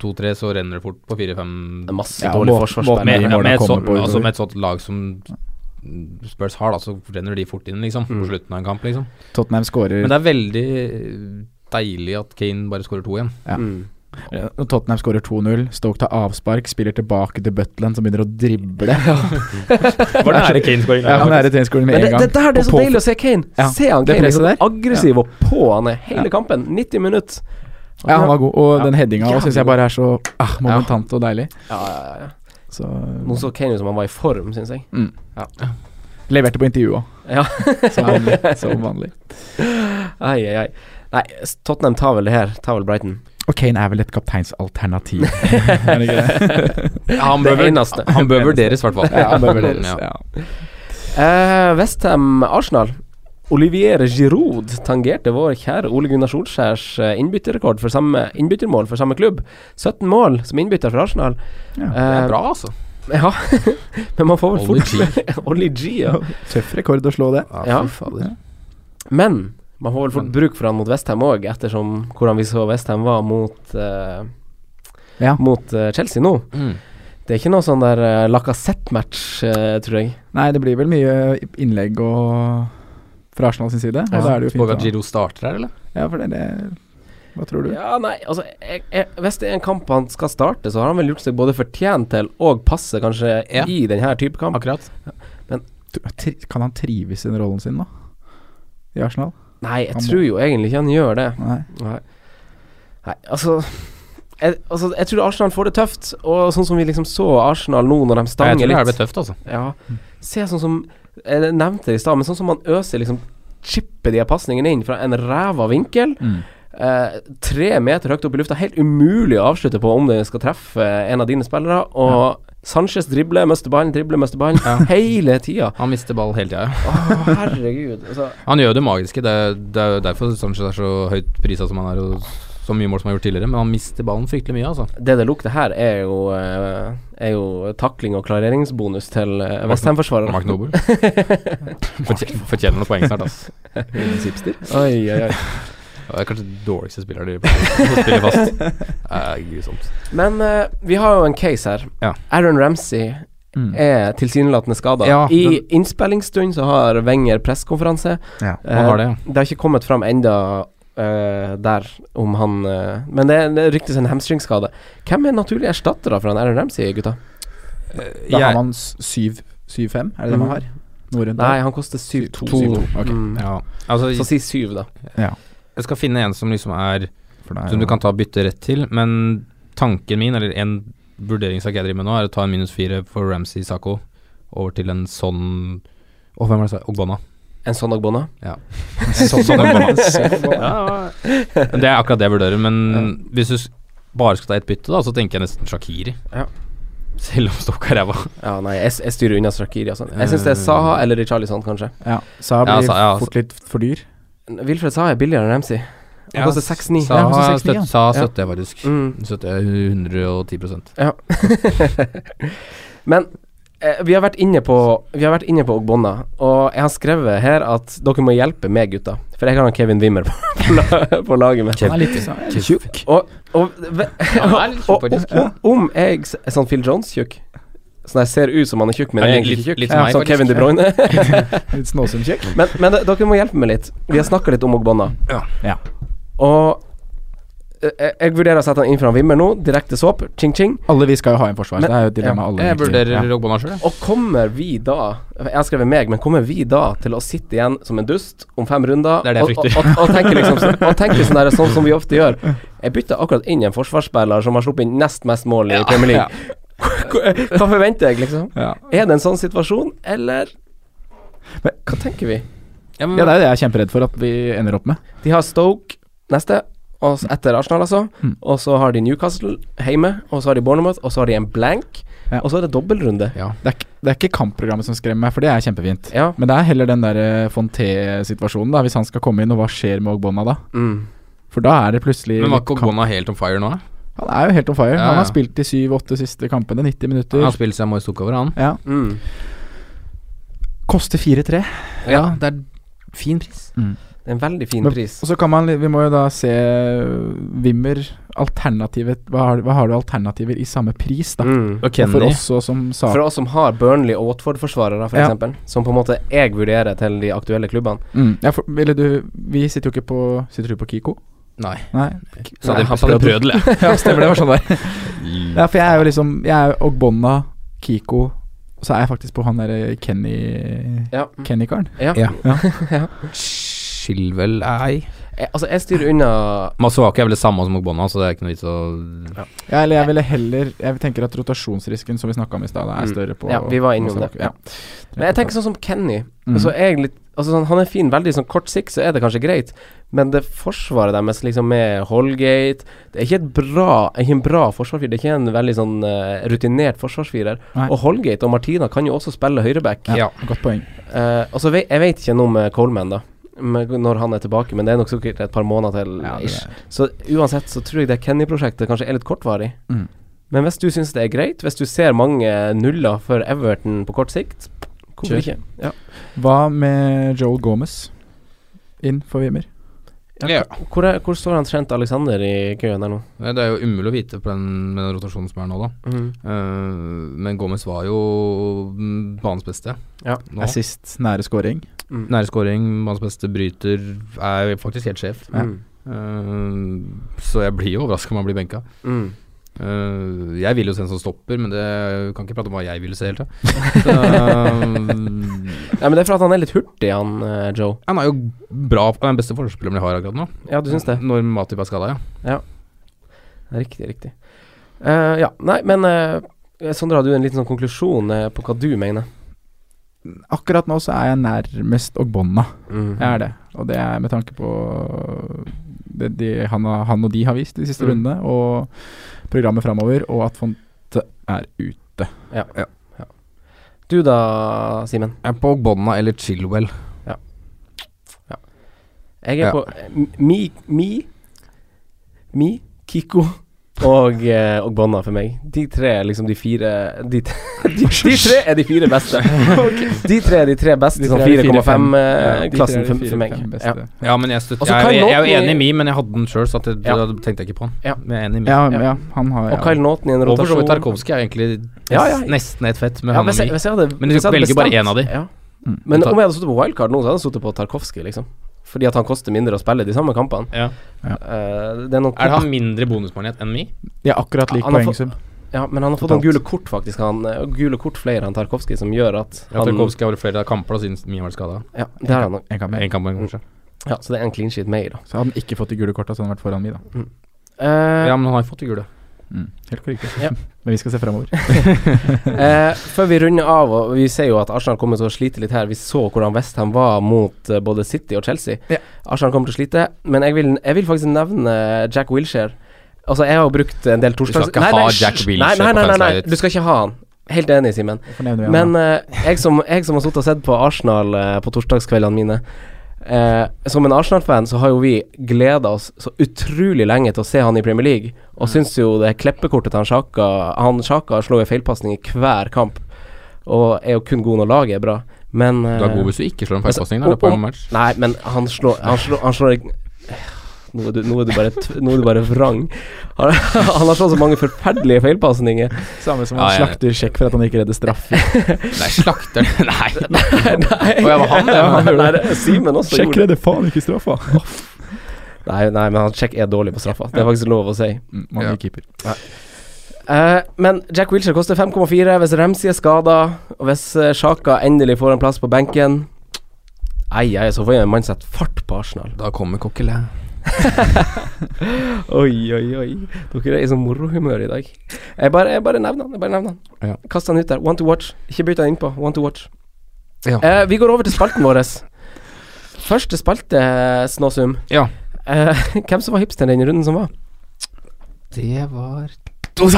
to-tre, så renner det fort på fire-fem. Det er Masse Ja, dårlig må- må- forsvarsspill. med- Med, målene med, et kommer sånt- på utover. altså med et sånt lag som Spurs har, da, så renner de fort inn, liksom. På Mm. slutten av en kamp, liksom. Tottenham Men skårer det er veldig deilig at Kane bare skårer to igjen. ja. Mm. Ja, Tottenham skårer 2-0. Stoke tar avspark, spiller tilbake til Butland, som begynner å drible. [laughs] Ja, Var det nære Kane-skåring? han er i treningsskolen med Men det, en gang. det der det er Og så på- deilig å se Kane. Ja, Se han det Kane er presset så der. aggressiv og på han er hele kampen. 90 minutter. Ja, han var god. Og Ja. den headinga Jævlig òg syns jeg bare er så ah, momentant og deilig. Ja, ja, ja. Så Nå så Kane ut som han var i form, syns jeg. mm. Ja. Leverte på intervjuet òg, [laughs] Ja. som vanlig. Som vanlig. Ai, ai, ai. Nei, s- Tottenham tar vel det her. Tar vel Brighton. Og Kane er vel et [laughs] kapteinsalternativ. er det ikke det? han, Det bør, vel- eneste. han bør vurderes, i hvert fall. Ja, han bør vurderes, Ja. ja. Eh, Westham Arsenal. Olivier Giroud tangerte vår kjære Ole Gunnar Solskjærs eh, innbytterrekord for samme innbyttermål for samme klubb. 17 mål som innbytter for Arsenal. Ja, Det Eh, er bra, altså. [laughs] Ja, men man får vel Ollie [laughs] fort Ollie G, ja. Tøff rekord å slå det. Ja. fy fader. Men man får vel fort Men- bruk for han mot Westham òg, ettersom hvordan vi så Westham var mot eh, Ja. Mot eh, Chelsea nå. Mm. Det er ikke noe sånn der uh, Lacassette-match, eh, tror jeg. Nei, det blir vel mye innlegg og fra Arsenal sin side. Og da er det jo Spår vi at fint. Giro starter her, eller? å- Ja, for det, det Hva tror du? Ja, nei, altså jeg, jeg, Hvis det er en kamp han skal starte, så har han vel gjort seg både fortjent til og passe, kanskje, Ja. i denne type kamp. Akkurat. Tr- tri- Kan han trives i den rollen sin, da? I Arsenal? Nei, jeg Han må- tror jo egentlig ikke han gjør det. Nei. Nei, Nei altså jeg, altså jeg tror Arsenal får det tøft, og sånn som vi liksom så Arsenal nå når de Jeg stanger tror det her blir litt tøft, altså. Ja, se sånn som Jeg nevnte det i stad, men sånn som man øser liksom Chipper de her pasningene inn fra en ræva vinkel. Eh, tre meter høyt opp i lufta. Helt umulig å avslutte på om det skal treffe en av dine spillere. Og Sanchez dribler, mister ballen, dribler, mister ballen. Hele tida. Han mister ball hele tida. Å, herregud. Altså, Han gjør det magiske. Det er, det er jo derfor Sanchez er så høyt prisa som han er, og så mye mål som han har gjort tidligere. Men han mister ballen fryktelig mye, altså. det det lukter her, er jo, eh, er jo takling og klareringsbonus til eh, Westham-forsvareren. Mark Noble. [laughs] Fortjener, fortjener noen poeng snart, ass. Oi, oi, oi. Det er kanskje den dårligste spilleren de spiller fast. Det er grusomt. Men eh, vi har jo en case her. Ja. Aaron Ramsey Mm. Eh, er tilsynelatende skada. Ja, I innspillingsstund så har Wenger pressekonferanse. eh, Ja, han har det, ja. det har ikke kommet fram enda eh, der om han eh, Men det, er- det ryktes en hamstringskade. Hvem er naturlige erstattere for han Aaron Ramsey, gutta? Da har Jeg- Mm. man 7-5, er det det man har? Noe rundt Mm. Nei, der? han koster 7-2. Syv- to, ok. Mm. ja. Altså, Så si 7, da. jeg skal finne en som liksom er For da er Som du det- kan ta bytte rett til, men tanken min, eller en vurderingssak jeg driver med nå, er å ta en minus fire for Ramsey Sako over til en sånn Å, hvem var det jeg sa? Ogbonna. En sånn Ogbonna. Sånn, sånn [laughs] Ogbonna. Men Det er akkurat det jeg vurderer, men hvis du s- bare skal ta ett bytte, da, så tenker jeg nesten Shakiri. Ja. Selv om Stokka er ræva. Ja, nei, jeg, jeg styrer unna Strakiri, altså. Jeg syns det er Saha eller Richarlison, kanskje. Ja, Sa blir Ja, Sa- ja, fort litt for dyr. Wilfred Saha er billigere enn Ramsey. Han koster 6-9. Sa Ja, han koster 6,9, ja. støt- sa Ja. støtter jeg faktisk. eh, Mm. Støtter jeg 110 Men eh, vi har vært inne på Vi har vært inne på Ogbonna, og jeg har skrevet her at dere må hjelpe meg, gutta. For jeg har han Kevin Wimmer på, [laughs] på, la- på laget mitt. Han er litt sånn- tjukk. Og, og, ve- Han er litt tjukk, og, og, faktisk. om- om jeg s- er sånn Phil Jones-tjukk Sånn jeg ser ut som han er tjukk, men Ja, jeg er litt- egentlig ikke tjukk. litt som meg, sånn faktisk. Kevin De Bruyne. [laughs] Litt snåsom kjekk. Mm. men men eh, dere må hjelpe meg litt. Vi har snakka litt om Ogbonna. Ja. Ja. Og eh, jeg, jeg vurderer å sette han inn fra Wimmer nå. Direkte swap. Ching-ching. Alle vi skal jo ha en forsvar, Men- det er jo et dilemma alle Jeg egentlig- vurderer ja. Ogbonna sjøl, jeg. Og kommer vi da Jeg har skrevet meg, men kommer vi da til å sitte igjen som en dust om fem runder Det er det jeg og, frykter. og, og, og tenke liksom sånn- og [laughs] tenke sånn, der, sånn som vi ofte gjør? Jeg bytta akkurat inn en forsvarsspiller som har sluppet inn nest mest mål i Premier League. [laughs] Hva forventer jeg, liksom? Ja. Er det en sånn situasjon, eller Men- Hva tenker vi? Ja, men- ja, det er jo det jeg er kjemperedd for at vi ender opp med. De har Stoke neste, og s- etter Arsenal, altså. Hmm. Mm. Og så har de Newcastle hjemme, og så har de Bournemouth, og så har de en blank, Ja. og så er det dobbeltrunde. Ja. Det er, ikke- det er ikke kampprogrammet som skremmer meg, for det er kjempefint. Ja. Men det er heller den der eh, Fonté-situasjonen, da. Hvis han skal komme inn, og hva skjer med Ogbonna da? Mm. For da er det plutselig Men var litt ikke kamp. Ogbonna helt on fire nå? da? Han er jo helt on fire. Ja, Han ja. har spilt de syv-åtte siste kampene, 90 minutter. Han har spilt seg Moise Stok over, han. Ja. Mm. Koster 4-3. Ja, det er fin pris. Det er en veldig fin Mm. Men- pris. Og så kan man li- Vi må jo da se øh, Wimmer Alternativet hva har, hva har du alternativer i samme pris, da? Mm. Og Og for Kenny. oss også, som sa For oss som har Burnley og Watford-forsvarere, f.eks., Ja. eksempel som på en måte jeg vurderer til de aktuelle klubbene. mm, ja, for, Ville du Vi sitter jo ikke på Sitter du på Kiko? Nei. Nei. Så Nei, hadde han så hadde jeg [laughs] brødel, jeg. Ja, stemmer det. var sånn der [laughs] Ja, for jeg er jo liksom Jeg er jo Ogbonna, Kiko og Så er jeg faktisk på han derre Kenny Ja. Kenny-karen. ja. Ja. Ja. Skilvel ei. Jeg, altså, jeg styrer unna Masuaki er vel det samme som Ogbonna, så det er ikke noe vits å Ja, eller jeg ville heller Jeg tenker at rotasjonsrisken som vi snakka om i stad, er Mm. større på Ja, vi var innom det. Ja. Men jeg tenker sånn som Kenny. Mm. Altså, jeg er litt, altså, sånn, han er fin, veldig sånn kort sikt, så er det kanskje greit, men det forsvaret deres liksom med Holgate Det er ikke et bra Ikke en bra forsvarsfirer, det er ikke en veldig sånn eh, rutinert forsvarsfirer. Nei. Og Holgate og Martina kan jo også spille høyreback. ja. Godt poeng. Eh, og så vei- jeg vet ikke noe med Coleman, da. Med, når han er tilbake, men det er nok sikkert et par måneder til. Ja, det er- ish. Så uansett så tror jeg det Kenny-prosjektet kanskje er litt kortvarig. Mm. Men hvis du syns det er greit, hvis du ser mange nuller for Everton på kort sikt, hvorfor Kjør. ikke? Ja. Hva med Joel Gomez inn for Wimmer? Ja. Hvor, er, hvor står han Trent Alexander i køen der nå? Nei, Det er jo umulig å vite på den, med den rotasjonen som er nå, da. Mm. Eh, men Gomez var jo mm, banens beste. Ja. Nå. Assist, nære scoring. Mm. Nære scoring, banens beste bryter, er jo faktisk helt sjef. Mm. Eh, så jeg blir jo overraska om han blir benka. Mm. Eh, jeg vil jo se en som stopper, men det jeg kan ikke prate om hva jeg ville se hele tida. [laughs] Nei, men det er for at han er litt hurtig, han eh, Joe. Han er jo bra Han er den beste forspilleren jeg har akkurat nå. Ja, du syns Mm. det? Når Matip er skada, ja. Riktig, riktig. Eh, ja, nei, men eh, Sondre, har du en liten sånn konklusjon eh, på hva du mener? Akkurat nå så er jeg nærmest Ogbonna. Mm. Jeg er det. Og det er med tanke på det de, han, har- han og de har vist de siste Mm. rundene, og programmet framover, og at Fonte er ute. Ja. ja. Du da, Simen? Jeg er på Bonna eller Chilwell. Jeg er Ja. på eh, Mi, Mi, Mi, Kiko og, eh, og Bonna for meg. De tre er liksom de fire De, [laughs] t- de, de tre er de [laughs] fire beste. De tre er de tre beste De sånn tre er de fire, fem. Ja, de tre er de 4,5-klassen for, fire, for meg. fem beste. Ja. Ja, men jeg, støtter, Altså, jeg, er- Kyle jeg, er jo Naughton- enig i Mi, men jeg hadde den sjøl, så at jeg, Ja. da tenkte jeg ikke på den. Ja. Men jeg er enig i Mi. Ja, ja, han har Og Kyle Naughton i en Og for så vidt rotasjon. Tarkovskij er egentlig nes- Ja, ja. nesten et fett med Ja, han og hvis jeg, Mi. hvis jeg hadde, Men du hvis jeg hadde velger bare én bestemt- av de. Ja. Mm. Men Ta- om jeg hadde sittet på wildcard nå, så hadde jeg sittet på Tarkovskij, liksom. Fordi at han koster mindre å spille de samme kampene. Ja. Eh, det er noen Er han mindre bonusmagnet enn Mi? De har akkurat lik Han har fått- poengsum. Ja, men han har fått noen Totalt. gule kort, faktisk. Han, eh, gule kort flere enn Tarkovskij, som gjør at Ja, han Tarkovskij har vel flere kamper da, siden Mi har vært skada. Ja, det har han nok. En kamp mer. En kamp, kanskje. Ja, så det er en clean sheet med i, da. Så hadde han ikke fått de gule korta, så hadde han vært foran mi, da. Ja, men han har jo fått det gule. Mm. Helt korrekt. Ja. Men vi skal se framover. Eh, før vi runder av, og vi ser jo at Arsenal kommer til å slite litt her. Vi så hvordan Westham var mot eh, både City og Chelsea. Ja. Arsenal kommer til å slite, men jeg vil, jeg vil faktisk nevne Jack Wilshere. Altså, jeg har jo brukt en del skal torsdags... ikke ha Jack hysj! Wilshere nei, på nei, nei, nei, fanslaget. nei, du skal ikke ha han. Helt enig, Simen. Hvorfor nevner vi han Men da? eh, jeg, som, jeg som har sittet og sett på Arsenal eh, på torsdagskveldene mine eh, Som en Arsenal-fan så har jo vi gleda oss så utrolig lenge til å se han i Premier League, og syns jo det klippekortet til han Sjaka Han Sjaka slår jo feilpasning i hver kamp, og er jo kun god når laget er bra, men eh, Du er god hvis du ikke slår en altså, feilpasning der. Det er om- på en match. Nei, men han slår Han slår, han slår nå er, du, nå, er du bare, tv- nå er du bare vrang. Han, han har slått så mange forferdelige feilpasninger. Samme som Ja, han jeg er slakter sjekk for at han ikke redder straff. Nei, slakter [laughs] Nei. Nei, Å, ja, var [laughs] han det? Ja, nei, nei, Simen også gjorde det. redder faen ikke straffa! Nei, nei, men han Check er dårlig på straffa. Det er faktisk lov å si. Mm, man Ja. blir keeper. Eh, men Jack Wilshere koster 5,4 hvis Ramsey er skada, og hvis eh, Sjaka endelig får en plass på benken Ei, ei, så får man sette fart på Arsenal. Da kommer Coquelin. Oi, oi, oi. Dere er i sånn morohumør i dag. Jeg bare, jeg bare nevner han. Jeg bare nevner Ja. han. Kast han ut der. One to watch. Ikke bytt han innpå. One to watch. Ja. Eh, vi går over til spalten vår. Første spalte, Snåsum. Ja. Eh, [laughs] hvem som var hipsteren i den runden som var? Det var To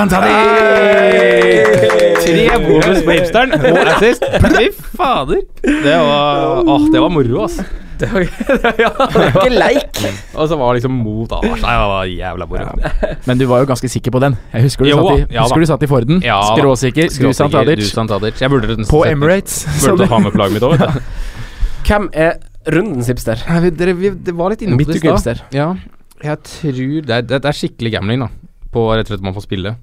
Tre bonus på [laughs] hipsteren og assist. Fy fader. Det var, åh, det var moro, ass. [laughs] Ikke leik! Og så var det liksom mot Ars. Nei, det var jævla moro. Men du var jo ganske sikker på den. Jeg husker du, Jo satt, i, da, ja da. husker du satt i Forden. Ja da. Skråsikker. Du, Sant Du, Adic. Santadic. Jeg burde nesten På sett det. Emirates. sa Burde du. ta med plagget mitt òg, vet du. Hvem er rundens hipster? Nei, vi- dere- vi- Det var litt inne på det i stad. Midtugehipster. Ja, jeg tror det er, det er skikkelig gambling, da. På rett og slett at man får spille.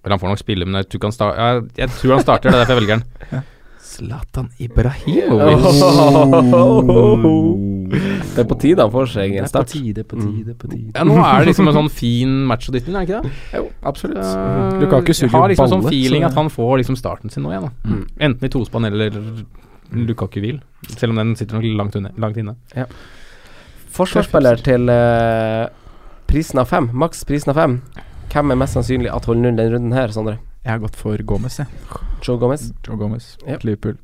Eller han får nok spille, men jeg tror ikke han, sta jeg, jeg tror han starter. Det er derfor jeg velger han. Zlatan Ibrahimovic. Det er på tide han får seg en start. tide, på tide, på tide. Ja, nå er det liksom en sånn fin match å dytte inn, er det ikke det? Jo, absolutt. Lukaku suger Har liksom balle, sånn feeling så- at han får liksom starten sin nå igjen, da. Mm. Enten i tospann eller Lukaku-hvil. Selv om den sitter nok langt, unne, langt inne. Forsvarsspiller til eh, prisen av fem, maks prisen av fem. Hvem er mest sannsynlig at holder null den runden her, Sondre? Jeg har gått for Gomez, jeg. Joe Gomez? Joe Gomez. Ja. Liverpool.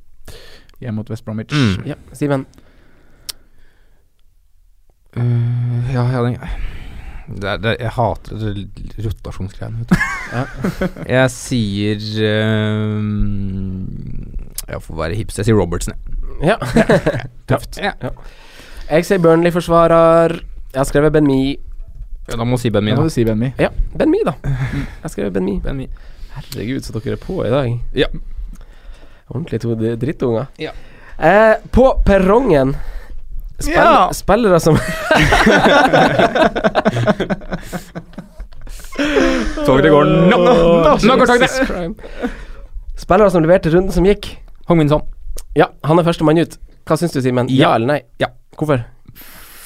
Hjem mot West Bromwich. Mm. Ja. Simen? Øh, ja, ja den, det er, det er, Jeg hater det l- rotasjonsgreiene, vet du. jeg sier øh, Jeg får være hips. Jeg sier Robertsen, jeg. Ja. Tøft. Ja. Jeg sier Burnley-forsvarer. Jeg har skrevet Ben Mi. Ja, da må du si Ben Da Mee, må da. du si Ben Mi. Ja, Ben Mi, da. Jeg skrev Ben Mi. Ben Mee. Herregud, så dere er på i dag. Ja. Ordentlig to d- drittunger. Ja. Eh, på perrongen spill, Ja. Spillere som Toget går nå, nå, nå, nå går toget! Jesus Christ. Spillere som leverte runden som gikk. Hong Min Son. Ja, han er førstemann ut. Hva syns du, Simen? Ja. Ja. eller nei? Ja. Hvorfor?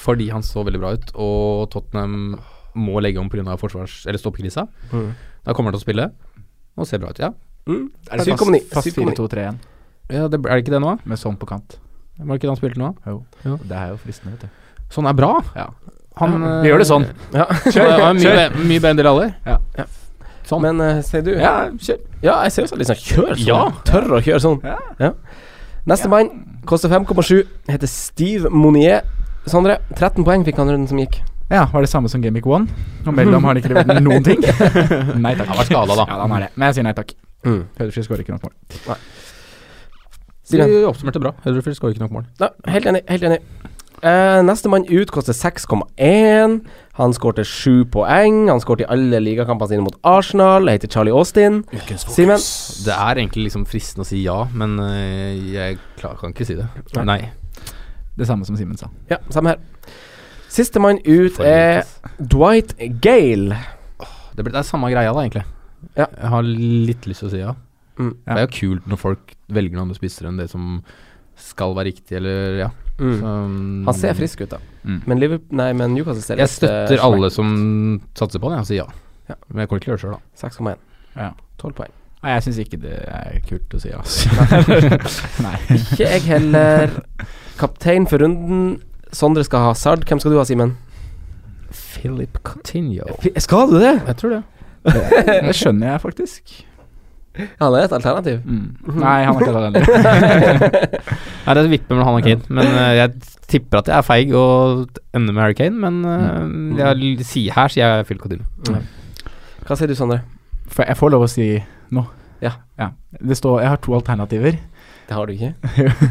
Fordi han så veldig bra ut, og Tottenham må legge om pga. forsvars- eller stoppekrisa. Mm. Da kommer han til å spille og ser bra ut. Ja, Mm. Er det Syv fast- komma ni, Fast syv komma ni. 4-2-3-1 ja det, er det ikke det nå? da? med sånn på kant. Var det ikke det han spilte nå? da? Jo. Ja. Det er jo fristende, vet du. Sånn er bra. Ja. Han Ja, eh, vi gjør det sånn. Ja. Så det var mye, be- mye bedre enn dere alle. Sånn. Men eh, sier du Ja, kjør. Ja, jeg ser også litt sånn Kjør sånn. Ja. Tør å kjøre sånn. Ja. Nestemann koster 5,7. Heter Steve Monier. Sondre, 13 poeng fikk han runden som gikk. Ja, var det samme som Gamic One? Og mellom har han ikke levert noen ting. nei takk. Han var skadet, da. Ja, han er det. Men jeg sier nei takk. Mm. Pedersen skårer ikke noe mål. Stilen. Du oppsummerte bra. Huddersfield skårer ikke nok mål. Nei, helt enig. helt enig Eh, Nestemann ut koster 6,1. Han skårte 7 poeng. Han skårte i alle ligakampene sine mot Arsenal. Jeg heter Charlie Austin. Simen? Det er egentlig liksom fristende å si ja, men eh, jeg klar, kan ikke si det. Nei. Nei. Det samme som Simen sa. Ja, samme her. Sistemann ut For er Dwight Gale. Det, blir- det er samme greia, da, egentlig. Ja. Jeg har litt lyst til å si ja. Mm. Det er jo kult når folk velger noen andre spisser enn det som skal være riktig, eller ja. Mm. Så, Han ser frisk ut, da. Mm. Men, Liverpool, nei, men Newcastle ser Jeg litt, eh, støtter alle svekk. som satser på han, jeg sier ja. Ja. Men jeg kommer ikke til å gjøre det sjøl, da. 6,1. Ja. 12 poeng. Nei, jeg syns ikke det er kult å si, altså. nei. Ikke jeg heller. Kaptein for runden. Sondre skal ha Sard. Hvem skal du ha, Simen? Philip Coutinho. Skal du det? Jeg tror det. Det skjønner jeg faktisk. Han er et alternativ. Mm. Nei, han har ikke tatt den. Nei, det vipper mellom han og Kane. Men eh, jeg tipper at jeg er feig og ender med Harry Kane, men eh, Mm. jeg, l- si, her sier jeg Phil Coutinho. Hva sier du, Sondre? For jeg får lov å si nå. Ja. Det står Jeg har to alternativer. [laughs] Det har du ikke?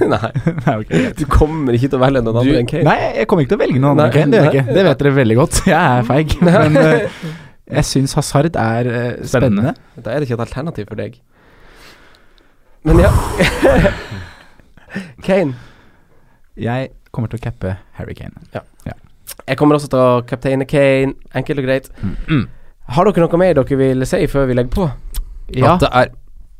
[laughs] Nei. nei, ok. Du kommer ikke til å velge noen Du, andre enn Kane. nei, jeg kommer ikke til å velge noen Nei, andre. Kane, Det, gjør jeg nei. ikke. det vet dere veldig godt. Jeg er feig. Men eh, jeg syns Hazard er eh, spennende. Spennende. Da er det ikke et alternativ for deg. Men ja [laughs] Kane. Jeg kommer til å cappe Harry Kane. Jeg kommer også til å kapteine Kane. Enkelt og greit. Mm. Har dere noe mer dere vil si før vi legger på? Ja. At det er,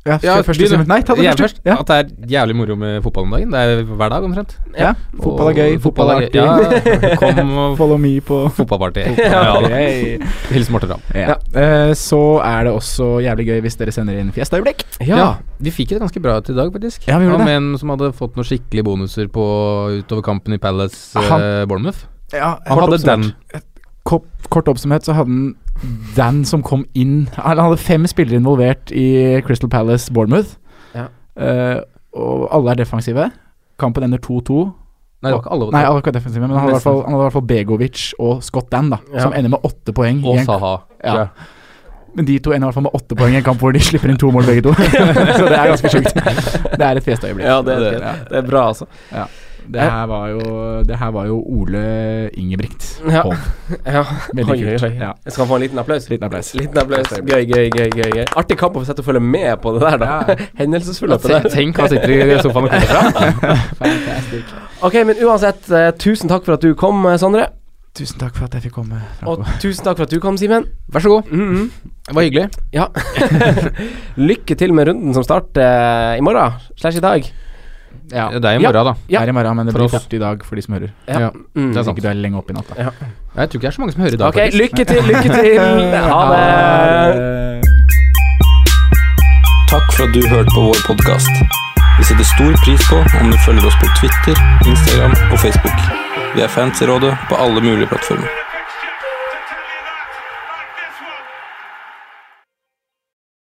Ja, Ja, først, begynn du. Nei, ta det jeg er først. først, du. Ja. at det er jævlig moro med fotball om dagen. Det er hver dag omtrent. Ja. Fotball er gøy, Og fotball er artig. [laughs] Ja, kom og Follow me [laughs] på fotballparty. Ja, da. Hils Morten Ramm. Ja. Eh, så er det også jævlig gøy hvis dere sender inn fiestaøyeblikk. Ja. vi fikk et ganske bra et i dag, faktisk. Ja, vi gjorde Han med en som hadde fått noen skikkelige bonuser på utover kampen i Palace Ah, Han- eh, Bournemouth. Ja, Han hadde den. Kort, kort oppsummert så hadde han Dan som kom inn Han hadde fem spillere involvert i Crystal Palace Bournemouth. Ja. Eh, og alle er defensive. Kampen ender 2-2. Nei, det var ikke alle. Nei, alle er ikke defensive, men han hadde i hvert fall, han hadde i hvert fall Begovic og Scott Dan, da, Ja. som ender med åtte poeng. i og en- Saha. Ja. tror jeg. Men de to ender i hvert fall med åtte poeng i en kamp hvor de slipper inn to mål begge to. [laughs] så det er ganske sjukt. Det er et festøyeblikk. Ja, det er det. Det er bra, altså. Det her var jo, det her var jo Ole Ingebrigt. Ja. Hov. ja. Veldig Oi, oi, kult. oi. Ja. Jeg skal få en liten applaus. Liten applaus. Liten applaus. Gøy, gøy, gøy. gøy, gøy. Artig kamp å sette og følge med på det der, da. [laughs] Hendelsesforløpet der. Tenk- Tenk, han sitter i sofaen og kommer fra. [laughs] Ok, men uansett, eh, tusen takk for at du kom, eh, Sondre. Tusen takk for at jeg fikk komme. Franco. Og tusen takk for at du kom, Simen. Vær så god. Mhm. Mm-hmm. Det var hyggelig. Ja. [laughs] Lykke til med runden som starter eh, i morgen, slash i dag. Ja. Det er i morgen, da. Ja. Det er i morgen, men det For blir oss. fort i dag for de som hører. Ja. Mm. Det er Hvis sant. ikke du er lenge oppe i natt, da. Jeg tror ikke det er så mange som hører i dag. Ok, faktisk. lykke til, lykke [laughs] til. Ha det. Eh, Takk for at du hørte på vår podkast. Vi setter stor pris på om du følger oss på Twitter, Instagram og Facebook. Vi er fans i rådet på alle mulige plattformer.